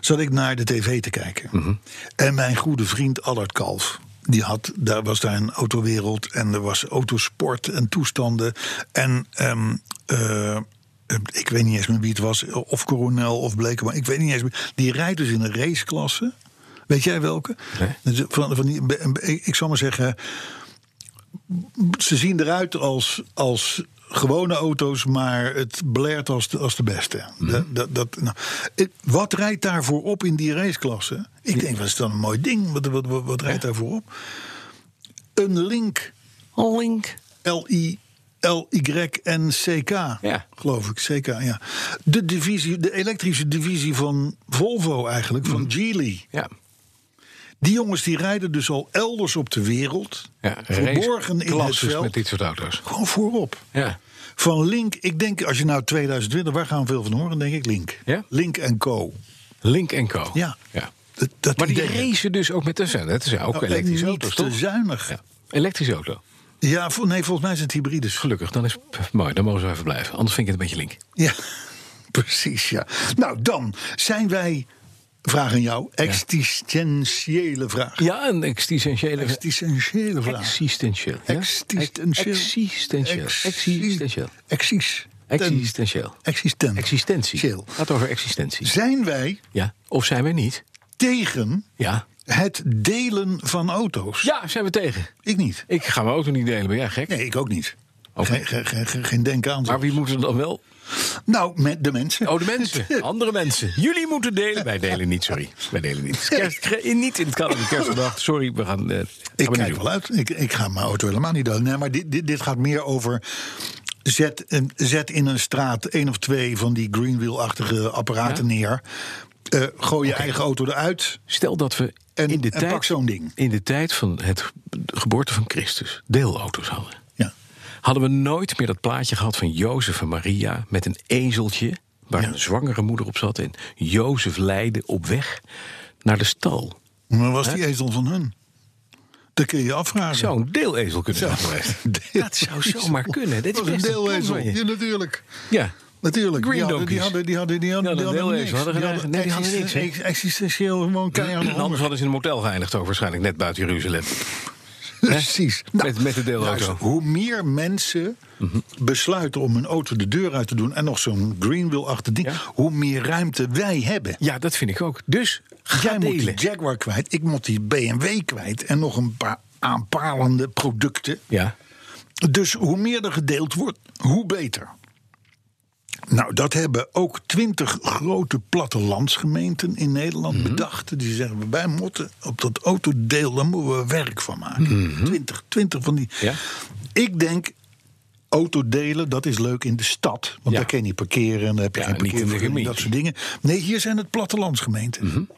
Speaker 3: zat ik naar de tv te kijken. En mijn goede vriend Allard Kalf, die had, daar was daar een autowereld en er was autosport en toestanden. En ehm, eh, eh, ik weet niet eens meer wie het was, of Coronel of Bleken, maar ik weet niet eens meer. Die rijdt dus in een raceklasse. Weet jij welke? Dus Van, van die, ik zal maar zeggen, ze zien eruit als, als gewone auto's, maar het blaert als de, als de beste.
Speaker 2: Mhm.
Speaker 3: Dat, dat, dat, nou, het- wat rijdt daarvoor op in die raceklasse? Ik denk, wat is dan een mooi ding? Wat, wat, wat, wat rijdt daarvoor op? Een Link.
Speaker 2: Link.
Speaker 3: L-I. L-Y-N-C-K,
Speaker 2: Ja.
Speaker 3: geloof ik. CK, ja. De, divisie, de elektrische divisie van Volvo eigenlijk,
Speaker 2: Mhm.
Speaker 3: van Geely.
Speaker 2: Ja.
Speaker 3: Die jongens die rijden dus al elders op de wereld.
Speaker 2: ja.
Speaker 3: verborgen in het
Speaker 2: raceklassen
Speaker 3: veld.
Speaker 2: met dit soort auto's.
Speaker 3: Gewoon voorop.
Speaker 2: Ja.
Speaker 3: Van Link, ik denk als je nou 2020, waar gaan we veel van horen? Denk ik Link.
Speaker 2: Ja?
Speaker 3: Link en Co.
Speaker 2: Link en Co.
Speaker 3: Ja.
Speaker 2: ja.
Speaker 3: Dat, dat
Speaker 2: Maar die
Speaker 3: idee.
Speaker 2: racen dus ook met de fan. Het zijn ook
Speaker 3: Nou, en
Speaker 2: elektrische
Speaker 3: niet
Speaker 2: auto's,
Speaker 3: te
Speaker 2: toch?
Speaker 3: zuinig.
Speaker 2: Ja. Elektrische auto.
Speaker 3: Ja, vol- nee, volgens mij zijn het hybrides.
Speaker 2: Gelukkig, dan is pff, mooi. Dan mogen ze even blijven. Anders vind ik het een beetje link.
Speaker 3: Ja, [laughs] precies, ja. Nou, dan zijn wij, vraag aan jou, existentiële vraag.
Speaker 2: Ja, een existentiële...
Speaker 3: Existentiële vraag.
Speaker 2: Existentieel. ja?
Speaker 3: Existentieel.
Speaker 2: Existentieel. Existentieel.
Speaker 3: Exis.
Speaker 2: Existentieel.
Speaker 3: Existent.
Speaker 2: Existentie.
Speaker 3: Chill.
Speaker 2: Het gaat over existentie.
Speaker 3: Zijn wij
Speaker 2: Ja. Of zijn we niet?
Speaker 3: tegen
Speaker 2: Ja.
Speaker 3: het delen van auto's?
Speaker 2: Ja, zijn we tegen.
Speaker 3: Ik niet.
Speaker 2: Ik ga mijn auto niet delen, ben jij gek?
Speaker 3: Nee, ik ook niet.
Speaker 2: Oké.
Speaker 3: Geen, geen, geen- geen, geen denk aan.
Speaker 2: Maar wie moet het dan wel?
Speaker 3: Nou, met de mensen.
Speaker 2: Oh, de
Speaker 3: [laughs]
Speaker 2: mensen. Andere mensen. Jullie moeten delen. Wij delen niet, sorry. Wij delen niet. Het is Kerst, ge- niet in het kader van kerstdag. Sorry, we gaan... eh, gaan we
Speaker 3: ik
Speaker 2: niet
Speaker 3: kijk
Speaker 2: doen.
Speaker 3: wel uit. Ik, ik ga mijn auto helemaal niet doen. Nee, maar dit, dit, dit gaat meer over. Zet, een- zet in een straat één of twee van die greenwheel-achtige apparaten neer. Eh, gooi je eigen auto eruit.
Speaker 2: Stel dat we
Speaker 3: En-
Speaker 2: in, de
Speaker 3: en
Speaker 2: tijd,
Speaker 3: pak zo'n ding.
Speaker 2: in de tijd van het ge- de geboorte van Christus deelauto's hadden.
Speaker 3: Ja.
Speaker 2: Hadden we nooit meer dat plaatje gehad van Jozef en Maria met een ezeltje... waar een zwangere moeder op zat en Jozef leidde op weg naar de stal.
Speaker 3: Maar was die ezel van hun? Dat kun je je afvragen.
Speaker 2: Zou een deelezel kunnen
Speaker 3: [laughs]
Speaker 2: zijn geweest. Dat zou zomaar kunnen. Dit is
Speaker 3: Dat was een
Speaker 2: best een plan
Speaker 3: deelezel.
Speaker 2: van je.
Speaker 3: Ja, natuurlijk.
Speaker 2: Ja.
Speaker 3: Natuurlijk.
Speaker 2: Green
Speaker 3: die, hadden, die
Speaker 2: donkeys.
Speaker 3: hadden die hadden die hadden
Speaker 2: Ja,
Speaker 3: die
Speaker 2: dat
Speaker 3: hadden
Speaker 2: deel
Speaker 3: niks.
Speaker 2: is. Hadden
Speaker 3: Die
Speaker 2: geen- nee, die hadden
Speaker 3: existen-
Speaker 2: niks, hè?
Speaker 3: Existentieel gewoon keihard honger.
Speaker 2: Anders hadden ze in een motel geëindigd ook waarschijnlijk net buiten Jeruzalem.
Speaker 3: [laughs] Precies. Nou,
Speaker 2: Met- met de deelauto.
Speaker 3: luister, hoe meer mensen
Speaker 2: Mhm.
Speaker 3: besluiten om hun auto de deur uit te doen... en nog zo'n greenwheel-achtig ding...
Speaker 2: Ja.
Speaker 3: hoe meer ruimte wij hebben.
Speaker 2: Ja, dat vind ik ook. Dus ga
Speaker 3: Jij moet
Speaker 2: delen.
Speaker 3: die Jaguar kwijt, ik moet die BMW kwijt... en nog een paar aanpalende producten.
Speaker 2: Ja.
Speaker 3: Dus hoe meer er gedeeld wordt, hoe beter. Nou, dat hebben ook twintig grote plattelandsgemeenten in Nederland
Speaker 2: Mhm.
Speaker 3: bedacht. Die zeggen, wij moeten op dat autodeel, daar moeten we werk van maken. Twintig, twintig van die.
Speaker 2: Mhm. Ja.
Speaker 3: Ik denk, autodelen, dat is leuk in de stad. Want daar kun je niet parkeren en daar heb je
Speaker 2: Ja,
Speaker 3: geen
Speaker 2: niet in de
Speaker 3: parkeervergunning, dat
Speaker 2: gemeente. Mhm.
Speaker 3: soort dingen. Nee, hier zijn het plattelandsgemeenten.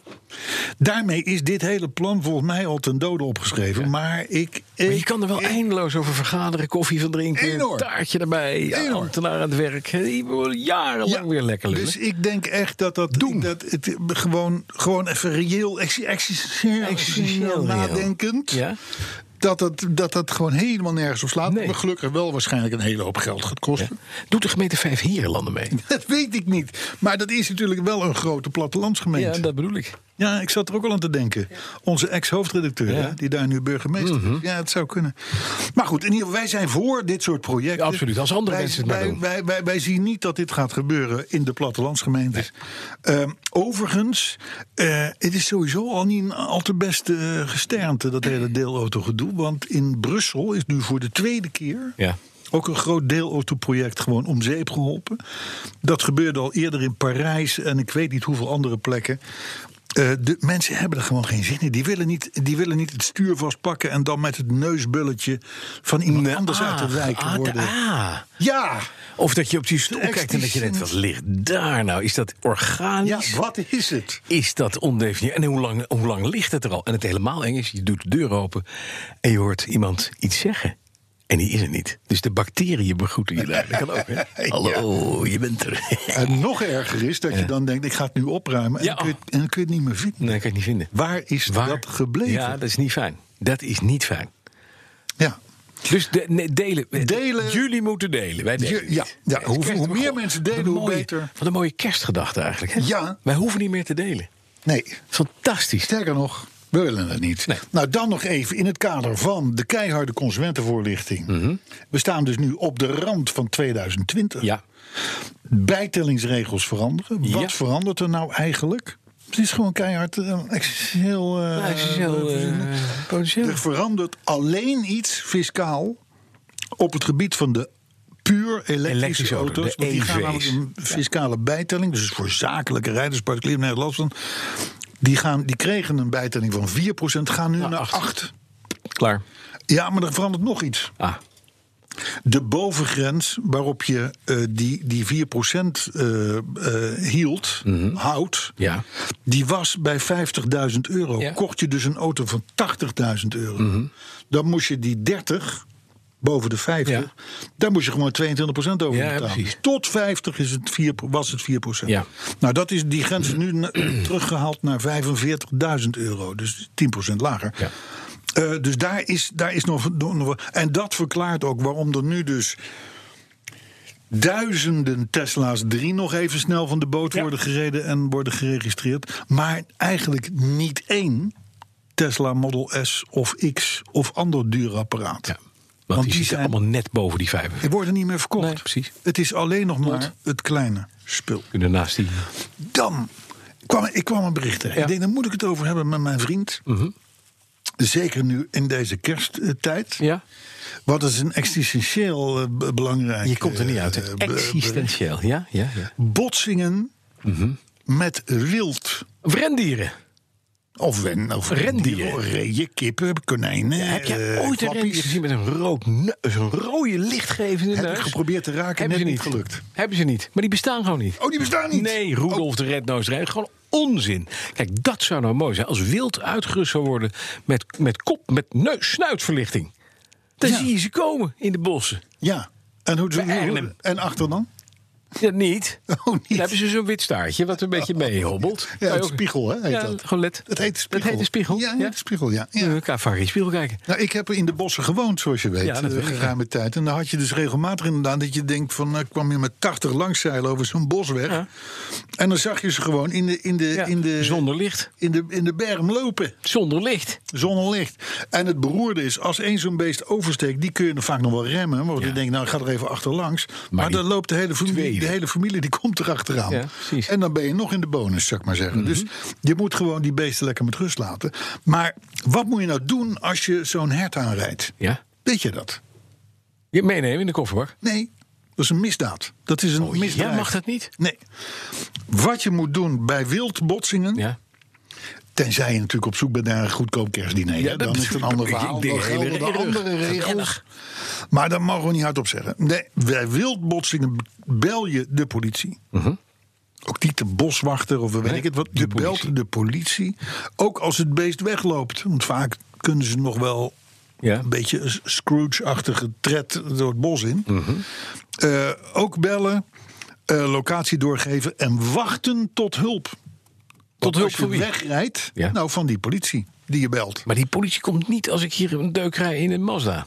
Speaker 3: Daarmee is dit hele plan volgens mij al ten dode opgeschreven. Maar ik...
Speaker 2: Maar je
Speaker 3: ik-
Speaker 2: kan er wel
Speaker 3: ik-
Speaker 2: eindeloos over vergaderen, koffie van drinken,
Speaker 3: Enorm.
Speaker 2: taartje erbij, ja,
Speaker 3: Enorm.
Speaker 2: ambtenaar aan het werk. Die wil jarenlang
Speaker 3: Ja,
Speaker 2: weer lekker lullen.
Speaker 3: Dus ik denk echt dat dat, dat het gewoon, gewoon even reëel, ex- existentieel
Speaker 2: Existentieel, ja.
Speaker 3: nadenkend.
Speaker 2: Ja.
Speaker 3: Dat, het, dat dat gewoon helemaal nergens op slaat.
Speaker 2: Nee.
Speaker 3: Maar gelukkig wel waarschijnlijk een hele hoop geld gaat kosten.
Speaker 2: Doet de gemeente Vijf
Speaker 3: [laughs]
Speaker 2: Herenlanden mee?
Speaker 3: Dat weet ik niet. Maar dat is natuurlijk wel een grote plattelandsgemeente.
Speaker 2: Ja, dat bedoel ik.
Speaker 3: Ja, ik zat er ook al aan te denken. Onze ex-hoofdredacteur, hè, die daar nu burgemeester
Speaker 2: Mhm.
Speaker 3: is. Ja, het zou kunnen. Maar goed, in ieder geval, wij zijn voor dit soort projecten.
Speaker 2: Ja, absoluut, als andere
Speaker 3: Wij-
Speaker 2: mensen het maar
Speaker 3: wij,
Speaker 2: doen.
Speaker 3: Wij, wij, wij zien niet dat dit gaat gebeuren in de plattelandsgemeentes. Ehm, overigens, eh, het is sowieso al niet een al te beste eh, gesternte, dat hele deelautogedoe. Want in Brussel is nu voor de tweede keer...
Speaker 2: Ja.
Speaker 3: Ook een groot deelautoproject gewoon om zeep geholpen. Dat gebeurde al eerder in Parijs en ik weet niet hoeveel andere plekken. Eh, de mensen hebben er gewoon geen zin in. Die willen niet, die willen niet het stuur vastpakken en dan met het neusbulletje van iemand anders uit de wijk
Speaker 2: ah,
Speaker 3: worden.
Speaker 2: ah.
Speaker 3: Ja,
Speaker 2: Of dat je op die stoel
Speaker 3: De
Speaker 2: kijkt en dat je denkt, wat
Speaker 3: extens-
Speaker 2: ligt daar nou? Is dat
Speaker 3: ja,
Speaker 2: organisch?
Speaker 3: wat is het?
Speaker 2: Is dat ondefinieer? En hoe lang, hoe lang ligt het er al? En het helemaal eng is, je doet de deur open en je hoort iemand iets zeggen. En die is er niet. Dus de bacteriën begroeten je daar. Dat kan
Speaker 3: [laughs]
Speaker 2: ook, hè? Hallo, je bent er.
Speaker 3: En nog erger is dat je dan denkt, ik ga het nu opruimen en,
Speaker 2: Ja.
Speaker 3: dan kun je, het- en dan kun je het niet meer vinden.
Speaker 2: nee, kan ik niet vinden.
Speaker 3: Waar is dat gebleven?
Speaker 2: Ja, dat is niet fijn. Dat is niet fijn.
Speaker 3: Ja.
Speaker 2: Dus de, nee, delen.
Speaker 3: Delen.
Speaker 2: Jullie moeten delen. Wij delen
Speaker 3: Je-
Speaker 2: niet.
Speaker 3: ja, ja,
Speaker 2: Nee,
Speaker 3: hoe-
Speaker 2: kerst-
Speaker 3: hoe meer
Speaker 2: Goh,
Speaker 3: mensen
Speaker 2: wat een
Speaker 3: delen, hoe
Speaker 2: mooie-
Speaker 3: beter.
Speaker 2: Wat een mooie kerstgedachte eigenlijk. Hè?
Speaker 3: Ja.
Speaker 2: Wij hoeven niet meer te delen.
Speaker 3: Nee,
Speaker 2: Fantastisch.
Speaker 3: Sterker nog, we willen het niet.
Speaker 2: Nee.
Speaker 3: Nou, dan nog even in het kader van de keiharde consumentenvoorlichting.
Speaker 2: Mhm.
Speaker 3: We staan dus nu op de rand van 2020.
Speaker 2: Ja.
Speaker 3: Bijtellingsregels veranderen.
Speaker 2: Ja.
Speaker 3: Wat verandert er nou eigenlijk? Het is gewoon keihard eh, existentieel. eh,
Speaker 2: Nou, het is heel, eh, potentieel.
Speaker 3: er verandert alleen iets fiscaal op het gebied van de puur elektrische,
Speaker 2: Elektrische auto's,
Speaker 3: auto's.
Speaker 2: de E
Speaker 3: want die gaan
Speaker 2: EV's.
Speaker 3: namelijk een fiscale bijtelling. Dus voor zakelijke rijders, particulier net last van. Die, gaan, die kregen een bijtelling van 4%, gaan nu
Speaker 2: Naar
Speaker 3: naar 8.
Speaker 2: acht. Klaar.
Speaker 3: Ja, maar er verandert nog iets.
Speaker 2: Ah,
Speaker 3: De bovengrens waarop je eh, die, die 4% eh, eh, hield, houdt,
Speaker 2: Mhm. ja.
Speaker 3: die was bij 50.000 euro.
Speaker 2: Ja. Mhm.
Speaker 3: Kocht je dus een auto van 80.000 euro. Dan moest je die 30, boven de 50,
Speaker 2: Ja.
Speaker 3: daar moest je gewoon 22% over
Speaker 2: Ja,
Speaker 3: betalen.
Speaker 2: precies.
Speaker 3: Tot 50 is het 4, was het 4%.
Speaker 2: Ja.
Speaker 3: Nou, dat is, die grens is nu na- [clears throat] teruggehaald naar 45.000 euro. Dus 10% lager.
Speaker 2: Ja.
Speaker 3: Eh, dus daar is, daar is nog, nog. En dat verklaart ook waarom er nu dus duizenden Tesla's 3 nog even snel van de boot worden gereden en worden geregistreerd. Maar eigenlijk niet één Tesla Model S of X of ander duur apparaat.
Speaker 2: ja. Want,
Speaker 3: Want
Speaker 2: die
Speaker 3: die
Speaker 2: zitten
Speaker 3: zijn-
Speaker 2: allemaal net boven die vijf.
Speaker 3: Die worden niet meer verkocht.
Speaker 2: Nee, precies.
Speaker 3: Het is alleen nog maar het kleine spul.
Speaker 2: Kunnen naast die.
Speaker 3: Dan kwam ik kwam een bericht tegen.
Speaker 2: Ja. Mhm.
Speaker 3: Ik denk, daar moet ik het over hebben met mijn vriend. Zeker nu in deze kersttijd.
Speaker 2: Ja.
Speaker 3: Wat is een existentieel eh, b- belangrijk...
Speaker 2: Je komt er niet
Speaker 3: eh,
Speaker 2: uit. hè?
Speaker 3: eh, b-
Speaker 2: Existentieel. Mhm. Ja, ja, ja.
Speaker 3: botsingen met wild.
Speaker 2: Rendieren.
Speaker 3: Of, wen, of
Speaker 2: Rendieren.
Speaker 3: Reeën, kippen, konijnen.
Speaker 2: Heb jij
Speaker 3: eh,
Speaker 2: ooit een
Speaker 3: kwappies.
Speaker 2: rendier gezien met een, rood ne- zo'n rode lichtgevende
Speaker 3: Heb ik
Speaker 2: neus?
Speaker 3: geprobeerd te raken,
Speaker 2: Hebben
Speaker 3: net
Speaker 2: ze
Speaker 3: niet gelukt.
Speaker 2: Hebben ze niet. Maar die bestaan gewoon niet.
Speaker 3: Oh, die bestaan niet?
Speaker 2: Nee, Rudolf de Rednoos Rijn. Gewoon onzin. Kijk, dat zou nou mooi zijn. Als wild uitgerust zou worden met, met kop, met neus, snuitverlichting. Dan
Speaker 3: Ja.
Speaker 2: zie je ze komen in de bossen.
Speaker 3: Ja. En, hoe, doen
Speaker 2: Bij
Speaker 3: hoe-
Speaker 2: Arnhem.
Speaker 3: en achter dan?
Speaker 2: Ja, niet.
Speaker 3: [laughs] Oh, niet.
Speaker 2: Dan hebben ze zo'n wit staartje wat een beetje meehobbelt.
Speaker 3: Ja,
Speaker 2: Kan je
Speaker 3: het
Speaker 2: ook-
Speaker 3: spiegel, hè, heet
Speaker 2: ja,
Speaker 3: dat.
Speaker 2: Gewoon let.
Speaker 3: Dat heet de spiegel.
Speaker 2: Dat heet een spiegel.
Speaker 3: Ja, ja. de spiegel, ja. ja.
Speaker 2: We elkaar vaak in de spiegel kijken.
Speaker 3: Nou, ik heb in de bossen gewoond, zoals je weet,
Speaker 2: Ja, dat
Speaker 3: eh,
Speaker 2: weet ik, ja.
Speaker 3: geruime tijd. En dan had je dus regelmatig inderdaad dat je denkt van... nou, kwam je met 80 langzeilen over zo'n bos weg.
Speaker 2: Ja.
Speaker 3: En dan zag je ze gewoon in de, in de,
Speaker 2: Ja,
Speaker 3: in de,
Speaker 2: Zonder licht.
Speaker 3: in de, in de berm lopen.
Speaker 2: Zonder licht.
Speaker 3: Zonnelicht. En het beroerde is, als één zo'n beest oversteekt, die kun je dan vaak nog wel remmen. Want
Speaker 2: Ja.
Speaker 3: je denkt, nou, ik ga er even achterlangs. Maar,
Speaker 2: die
Speaker 3: dan loopt de hele familie,
Speaker 2: tweede.
Speaker 3: de hele familie die komt erachteraan.
Speaker 2: Ja, precies. Mhm.
Speaker 3: en dan ben je nog in de bonus, zou ik maar zeggen. Dus je moet gewoon die beesten lekker met rust laten. Maar wat moet je nou doen als je zo'n hert aanrijdt?
Speaker 2: Ja.
Speaker 3: Weet je dat?
Speaker 2: Je meenemen in de kofferbak.
Speaker 3: Nee, dat is een misdaad. Dat is een
Speaker 2: ja,
Speaker 3: misdaad.
Speaker 2: Oh, mag dat niet?
Speaker 3: Nee. Wat je moet doen bij wildbotsingen...
Speaker 2: Ja.
Speaker 3: Tenzij je natuurlijk op zoek bent naar een goedkoop kerstdiner.
Speaker 2: Ja,
Speaker 3: hè,
Speaker 2: dat
Speaker 3: dan is
Speaker 2: [laughs]
Speaker 3: het een
Speaker 2: bedoel
Speaker 3: ander
Speaker 2: ik. Ik
Speaker 3: verhaal.
Speaker 2: denk
Speaker 3: Dan
Speaker 2: de hele
Speaker 3: gelden de
Speaker 2: rug.
Speaker 3: andere regels.
Speaker 2: Ellig.
Speaker 3: Maar daar mogen we niet hard op zeggen. Nee, bij wildbotsingen bel je de politie. Ook niet de boswachter of weet
Speaker 2: Mhm. Nee,
Speaker 3: ik het wat.
Speaker 2: de
Speaker 3: Je
Speaker 2: politie.
Speaker 3: belt de politie. Ook als het beest wegloopt. Want vaak kunnen ze nog wel
Speaker 2: Ja.
Speaker 3: een beetje een Scrooge-achtige tred door het bos in.
Speaker 2: Mhm.
Speaker 3: Eh, ook bellen, eh, locatie doorgeven en wachten tot hulp. Want
Speaker 2: hulp
Speaker 3: als
Speaker 2: van
Speaker 3: je
Speaker 2: wie?
Speaker 3: wegrijdt,
Speaker 2: Ja.
Speaker 3: nou van die politie die je belt.
Speaker 2: Maar die politie komt niet als ik hier een deuk rij in een Mazda.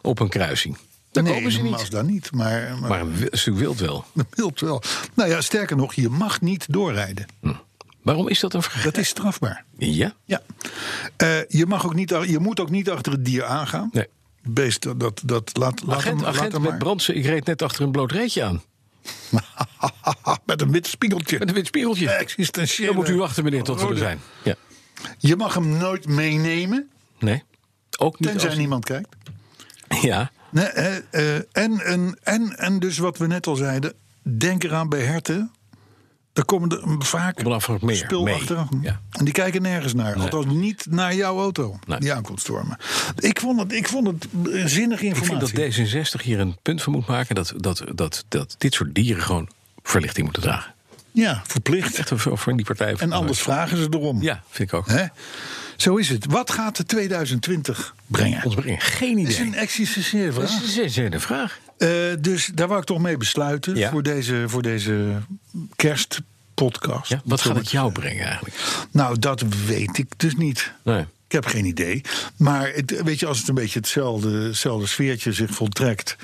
Speaker 2: Op een kruising. Daar
Speaker 3: nee,
Speaker 2: komen ze
Speaker 3: een
Speaker 2: niet.
Speaker 3: Mazda niet, maar, [laughs] maar,
Speaker 2: Maar een wi- een stuk wild wel.
Speaker 3: een wild wel. Nou ja, sterker nog, je mag niet doorrijden.
Speaker 2: Waarom is dat een vergrijp?
Speaker 3: Dat is strafbaar.
Speaker 2: Ja?
Speaker 3: Ja. Eh, je, mag ook niet, je moet ook niet achter het dier aangaan.
Speaker 2: Nee.
Speaker 3: Beest, dat, dat, dat laat, laat
Speaker 2: agent
Speaker 3: hem, laat
Speaker 2: agent
Speaker 3: hem
Speaker 2: met
Speaker 3: maar.
Speaker 2: brandsen, ik reed net achter een bloot reetje aan.
Speaker 3: [laughs] met een wit spiegeltje.
Speaker 2: Met een wit spiegeltje.
Speaker 3: Existentiële
Speaker 2: Dan moet u wachten, meneer, tot we er
Speaker 3: rode.
Speaker 2: zijn. Ja.
Speaker 3: Je mag hem nooit meenemen,
Speaker 2: Nee. Ook niet
Speaker 3: tenzij
Speaker 2: als...
Speaker 3: niemand kijkt.
Speaker 2: [laughs] Ja.
Speaker 3: Nee, eh, eh, en, en, en, en dus wat we net al zeiden, denk eraan bij herten. Daar komen er vaak
Speaker 2: Op een afgehakt meer
Speaker 3: spul
Speaker 2: mee.
Speaker 3: achteraan.
Speaker 2: Ja.
Speaker 3: En die kijken nergens naar. Althans niet naar jouw auto,
Speaker 2: Nee.
Speaker 3: die aankomt stormen. Ik vond het, ik vond het eh, zinnige
Speaker 2: Ik vind
Speaker 3: informatie.
Speaker 2: dat D66 hier een punt van moet maken... dat, dat, dat, dat dit soort dieren gewoon verlichting moeten dragen.
Speaker 3: Ja, verplicht.
Speaker 2: Echt een- voor die partij.
Speaker 3: En anders vragen ze erom.
Speaker 2: Ja, vind ik ook.
Speaker 3: Hè? Zo is het. Wat gaat de 2020 brengen?
Speaker 2: Ons brengen. Geen
Speaker 3: Dat is
Speaker 2: idee.
Speaker 3: een existentiële
Speaker 2: Dat
Speaker 3: vraag.
Speaker 2: is een zin- vraag.
Speaker 3: Eh, dus daar wou ik toch mee besluiten
Speaker 2: Ja.
Speaker 3: voor, deze, voor deze kerstpodcast.
Speaker 2: Ja, wat gaat het jou brengen eigenlijk?
Speaker 3: Nou, dat weet ik dus niet.
Speaker 2: Nee.
Speaker 3: Ik heb geen idee. Maar het, weet je, als het een beetje hetzelfde, hetzelfde sfeertje zich voltrekt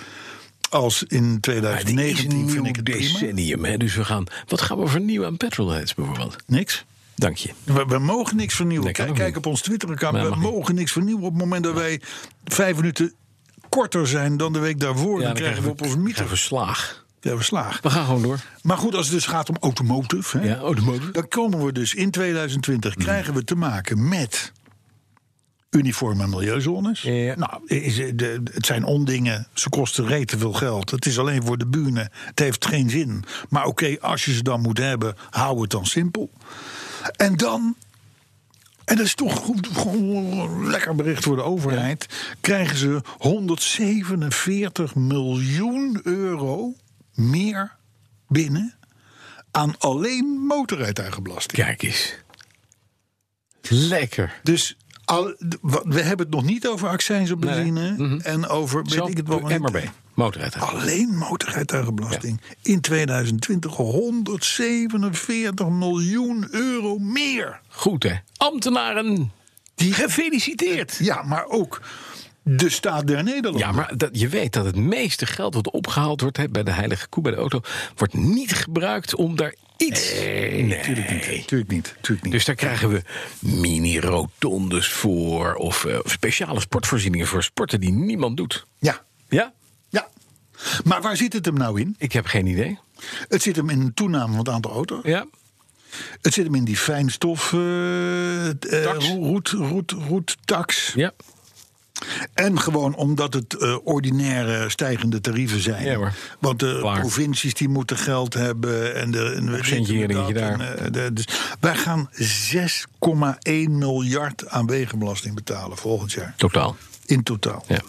Speaker 3: als in
Speaker 2: Maar dit is
Speaker 3: 2019,
Speaker 2: een
Speaker 3: vind
Speaker 2: nieuw
Speaker 3: ik het prima.
Speaker 2: decennium. Hè? Dus we gaan, wat gaan we vernieuwen aan petrolheads bijvoorbeeld?
Speaker 3: Niks.
Speaker 2: Dank je.
Speaker 3: We, we mogen niks vernieuwen.
Speaker 2: Nee, kan
Speaker 3: kijk
Speaker 2: ook
Speaker 3: kijk
Speaker 2: niet.
Speaker 3: op ons Twitter-account.
Speaker 2: Nee,
Speaker 3: we
Speaker 2: mag niet.
Speaker 3: mogen niks vernieuwen op het moment dat wij vijf minuten korter zijn dan de week daarvoor. dan, krijgen we op ons
Speaker 2: mieter
Speaker 3: meter
Speaker 2: verslaag.
Speaker 3: krijgen we slaag.
Speaker 2: We gaan gewoon door.
Speaker 3: Maar goed, als het dus gaat om automotive, hè,
Speaker 2: Ja, oh, automotive.
Speaker 3: dan komen we dus in 2020 krijgen we te maken met uniforme milieuzones.
Speaker 2: Ja.
Speaker 3: Nou, is, eh, de, het zijn ondingen, ze kosten rete veel geld. Het is alleen voor de buren, het heeft geen zin. Maar oké, als je ze dan moet hebben, hou het dan simpel. En dan, en dat is toch goed, gewoon een lekker bericht voor de overheid, krijgen ze 147 miljoen euro meer binnen aan alleen motorrijtuigenbelasting.
Speaker 2: Kijk eens. Lekker.
Speaker 3: Dus al, d- wa- we hebben het nog niet over accijns op benzine en over weet ik het wel maar niet.
Speaker 2: MRB. Motorrijden.
Speaker 3: Alleen motorrijtuigenbelasting in 2020 147 miljoen euro meer.
Speaker 2: Goed hè. Ambtenaren. Die gefeliciteerd.
Speaker 3: Ja, maar ook de staat der Nederlanden.
Speaker 2: Ja, maar dat, je weet dat het meeste geld wat opgehaald wordt hè, bij de heilige koe, bij de auto, wordt niet gebruikt om daar iets... Nee,
Speaker 3: Tuurlijk niet, tuurlijk niet, tuurlijk niet.
Speaker 2: Dus daar krijgen we mini-rotondes voor of eh, speciale sportvoorzieningen voor sporten die niemand doet.
Speaker 3: ja,
Speaker 2: Ja?
Speaker 3: ja. Maar waar zit het hem nou in?
Speaker 2: Ik heb geen idee.
Speaker 3: Het zit hem in een toename van het aantal auto's.
Speaker 2: Ja?
Speaker 3: Het zit hem in die fijnstof eh, eh,
Speaker 2: Tax.
Speaker 3: roet- roet- roettax.
Speaker 2: Ja.
Speaker 3: En gewoon omdat het eh, ordinaire stijgende tarieven zijn.
Speaker 2: Ja, hoor.
Speaker 3: Want de
Speaker 2: Klaar.
Speaker 3: provincies die moeten geld hebben. En de, en we
Speaker 2: centje hier,
Speaker 3: dit en
Speaker 2: dingetje
Speaker 3: dat
Speaker 2: daar.
Speaker 3: en, eh, de- dus wij gaan 6,1 miljard aan wegenbelasting betalen volgend jaar.
Speaker 2: Totaal.
Speaker 3: In totaal.
Speaker 2: Ja.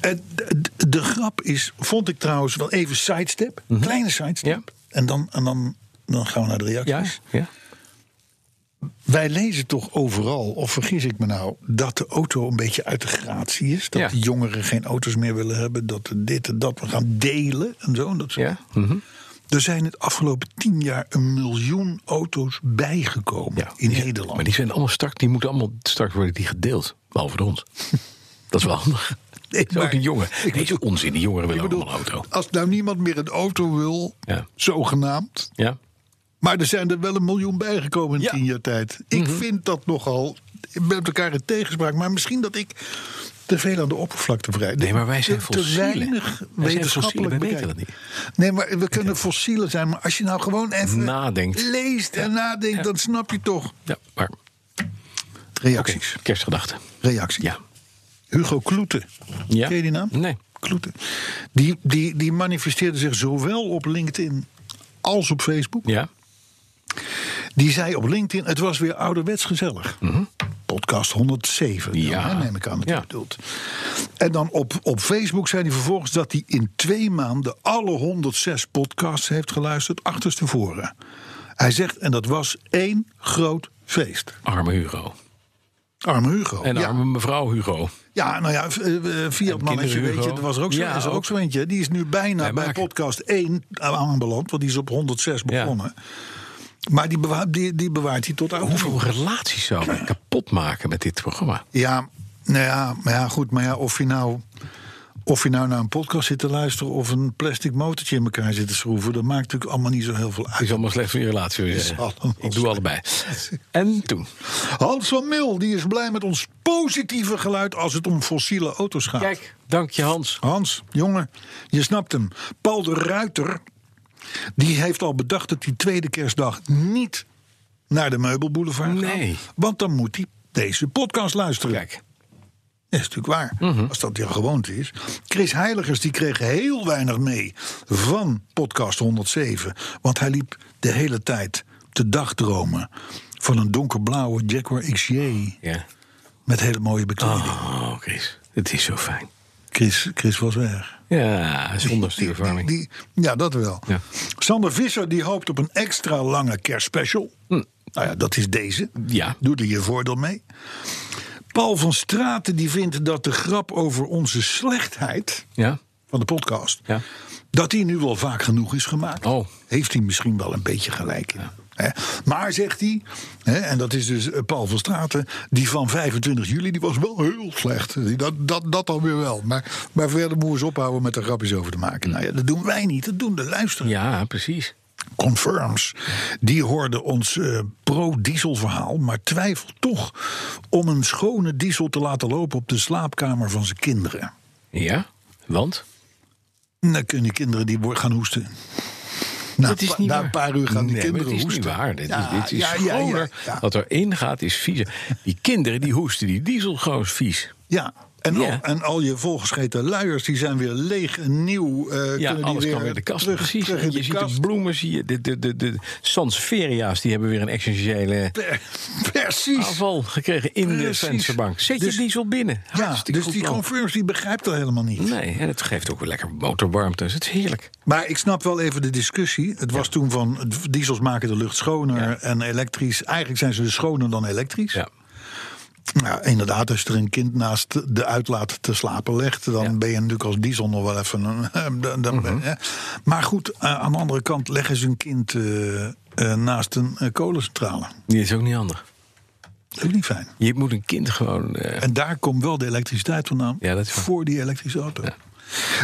Speaker 3: En de, Eh, de- de grap is, vond ik trouwens wel even sidestep. Kleine sidestep.
Speaker 2: Mhm. Ja.
Speaker 3: En, dan, en dan, dan gaan we naar de
Speaker 2: Ja?
Speaker 3: reacties.
Speaker 2: ja.
Speaker 3: Wij lezen toch overal, of vergis ik me nou, dat de auto een beetje uit de gratie is. Dat
Speaker 2: Ja.
Speaker 3: de jongeren geen auto's meer willen hebben. Dat de dit en dat we gaan delen en zo. En dat soort.
Speaker 2: Ja? Mhm.
Speaker 3: Er zijn het afgelopen tien jaar een miljoen auto's bijgekomen
Speaker 2: ja.
Speaker 3: in
Speaker 2: Die-
Speaker 3: Nederland.
Speaker 2: Maar die zijn allemaal start, die moeten allemaal start worden die gedeeld. Behalve door ons. [laughs] dat is wel handig.
Speaker 3: Nee,
Speaker 2: Dat is ook
Speaker 3: maar-
Speaker 2: een jongen.
Speaker 3: Ik
Speaker 2: Nee,
Speaker 3: bedoel-
Speaker 2: onzin. Die jongeren willen
Speaker 3: Ik bedoel,
Speaker 2: allemaal een auto.
Speaker 3: Als nou niemand meer een auto wil,
Speaker 2: Ja.
Speaker 3: zogenaamd.
Speaker 2: Ja?
Speaker 3: Maar er zijn er wel een miljoen bijgekomen in
Speaker 2: Ja. Mhm.
Speaker 3: tien jaar tijd. Ik vind dat nogal met elkaar in tegenspraak. Maar misschien dat ik te veel aan de oppervlakte vrij.
Speaker 2: Nee, maar wij zijn
Speaker 3: te, te
Speaker 2: fossielen. Wij
Speaker 3: weinig
Speaker 2: zijn fossielen,
Speaker 3: wetenschappelijk
Speaker 2: wij weten
Speaker 3: bekijken. Nee, maar we kunnen fossielen zijn. Maar als je nou gewoon even
Speaker 2: Nadenkt.
Speaker 3: leest en nadenkt, dan snap je toch.
Speaker 2: Ja, maar... Oké,
Speaker 3: Reacties.
Speaker 2: kerstgedachten.
Speaker 3: Reactie.
Speaker 2: Ja.
Speaker 3: Hugo Kloete.
Speaker 2: ja.
Speaker 3: Ken je die naam?
Speaker 2: Nee.
Speaker 3: Kloete. Die, die, die manifesteerde zich zowel op LinkedIn als op Facebook.
Speaker 2: Ja?
Speaker 3: Die zei op LinkedIn: Het was weer ouderwets gezellig. Podcast 107, dan,
Speaker 2: Mhm. Ja.
Speaker 3: hè, neem ik aan dat
Speaker 2: Ja.
Speaker 3: je bedoelt. En dan op, op Facebook zei hij vervolgens dat hij in twee maanden alle 106 podcasts heeft geluisterd, achterstevoren. Hij zegt: En dat was één groot feest.
Speaker 2: Arme Hugo.
Speaker 3: Arme Hugo.
Speaker 2: En
Speaker 3: ja.
Speaker 2: arme mevrouw Hugo.
Speaker 3: Ja, nou ja, v- eh, eh, Fiat
Speaker 2: En
Speaker 3: mannetje,
Speaker 2: kinderen,
Speaker 3: weet je,
Speaker 2: Hugo.
Speaker 3: er was er ook zo,
Speaker 2: Ja,
Speaker 3: is er
Speaker 2: ook.
Speaker 3: ook zo eentje. Die is nu bijna
Speaker 2: Wij
Speaker 3: bij
Speaker 2: maken-
Speaker 3: podcast 1 aanbeland, want die is op 106
Speaker 2: Ja.
Speaker 3: begonnen. Maar die, bewa die, die bewaart hij tot aan.
Speaker 2: Hoeveel relaties zouden wij kapot maken met dit programma?
Speaker 3: Ja, nou ja, maar ja, goed, maar ja, of je nou... Of je nou naar een podcast zit te luisteren of een plastic motortje in elkaar zit te schroeven, dat maakt natuurlijk allemaal niet zo heel veel
Speaker 2: Het
Speaker 3: uit.
Speaker 2: is allemaal slecht voor je relatie. wil je zeggen.
Speaker 3: allemaal
Speaker 2: Ik doe allebei. En toen?
Speaker 3: Hans van Mil die is blij met ons positieve geluid als het om fossiele auto's gaat.
Speaker 2: Kijk, dank je Hans.
Speaker 3: Hans, jongen, je snapt hem. Paul de Ruiter, die heeft al bedacht dat hij tweede kerstdag niet naar de meubelboulevard gaat.
Speaker 2: Nee.
Speaker 3: Want dan moet hij deze podcast luisteren.
Speaker 2: Kijk,
Speaker 3: Dat is natuurlijk waar, als dat jouw gewoonte is. Chris Heiligers die kreeg heel weinig mee van podcast 107. Want hij liep de hele tijd te dagdromen van een donkerblauwe Jaguar XJ
Speaker 2: ja.
Speaker 3: met hele mooie bekleding.
Speaker 2: Oh, Chris, het is zo fijn.
Speaker 3: Chris, Chris was weg.
Speaker 2: Ja, zonder
Speaker 3: Die-
Speaker 2: stuurverwarming.
Speaker 3: die- ja, dat wel.
Speaker 2: Ja.
Speaker 3: Sander Visser die hoopt op een extra lange kerstspecial. Nou ja, dat is deze.
Speaker 2: Ja.
Speaker 3: Doe er je voordeel mee. Paul van Straten die vindt dat de grap over onze slechtheid
Speaker 2: Ja?
Speaker 3: van de podcast...
Speaker 2: Ja.
Speaker 3: dat die nu wel vaak genoeg is gemaakt.
Speaker 2: Oh.
Speaker 3: Heeft hij misschien wel een beetje gelijk in. Hè? Maar zegt hij, hè, en dat is dus eh, Paul van Straten... die van 25 juli, die was wel heel slecht. Die- Dat, dat, dat dan weer wel. Maar, maar verder moeten we eens ophouden met er grapjes over te maken. Nou ja, dat doen wij niet, dat doen de luisteraars.
Speaker 2: Ja, precies.
Speaker 3: Confirms. Die hoorden ons eh, pro-diesel verhaal, maar twijfelt toch... om een schone diesel te laten lopen op de slaapkamer van zijn kinderen.
Speaker 2: Ja, want?
Speaker 3: Dan kunnen kinderen die wo- gaan hoesten. Na,
Speaker 2: Dat is
Speaker 3: pa-
Speaker 2: niet
Speaker 3: na
Speaker 2: waar.
Speaker 3: een paar uur gaan die
Speaker 2: Nee, maar
Speaker 3: kinderen
Speaker 2: het is
Speaker 3: hoesten.
Speaker 2: niet waar. Dit
Speaker 3: Ja,
Speaker 2: is, dit is
Speaker 3: ja, ja, ja,
Speaker 2: schoner. Oh.
Speaker 3: ja.
Speaker 2: Wat erin gaat is vies. Die kinderen die hoesten die diesel gewoon is vies.
Speaker 3: Ja. En,
Speaker 2: Ja.
Speaker 3: Al, en al je volgescheten luiers die zijn weer leeg en nieuw. eh
Speaker 2: Ja,
Speaker 3: kunnen
Speaker 2: alles
Speaker 3: die weer
Speaker 2: kan weer de kast.
Speaker 3: terug-
Speaker 2: precies.
Speaker 3: terug in
Speaker 2: en je
Speaker 3: de
Speaker 2: ziet
Speaker 3: kast.
Speaker 2: de bloemen, zie je. De, de, de, de Sanseveria's die hebben weer een essentiële
Speaker 3: Per- Precies.
Speaker 2: aanval gekregen in
Speaker 3: Precies.
Speaker 2: de vensterbank. Zet
Speaker 3: Dus-
Speaker 2: je diesel binnen.
Speaker 3: Ja,
Speaker 2: Hartstikke
Speaker 3: dus
Speaker 2: goed
Speaker 3: die
Speaker 2: plan.
Speaker 3: confirms die begrijpt dat helemaal niet.
Speaker 2: Nee, en het geeft ook weer lekker motorwarmte. Dus het is heerlijk.
Speaker 3: Maar ik snap wel even de discussie. Het was toen van diesels maken de lucht schoner
Speaker 2: Ja.
Speaker 3: en elektrisch. Eigenlijk zijn ze dus schoner dan elektrisch.
Speaker 2: Ja.
Speaker 3: Nou, inderdaad, als je er een kind naast de uitlaat te slapen legt, dan
Speaker 2: Ja. Mhm.
Speaker 3: ben je natuurlijk als diesel nog wel even. Een, [laughs] dan, dan- hè. Maar goed, eh, aan de andere kant leggen ze een kind eh, eh, naast een eh, kolencentrale.
Speaker 2: Die is ook niet handig.
Speaker 3: Dat is ook niet fijn.
Speaker 2: Je moet een kind gewoon... eh,
Speaker 3: En daar komt wel de elektriciteit vandaan
Speaker 2: Ja, dat is waar.
Speaker 3: voor die elektrische auto.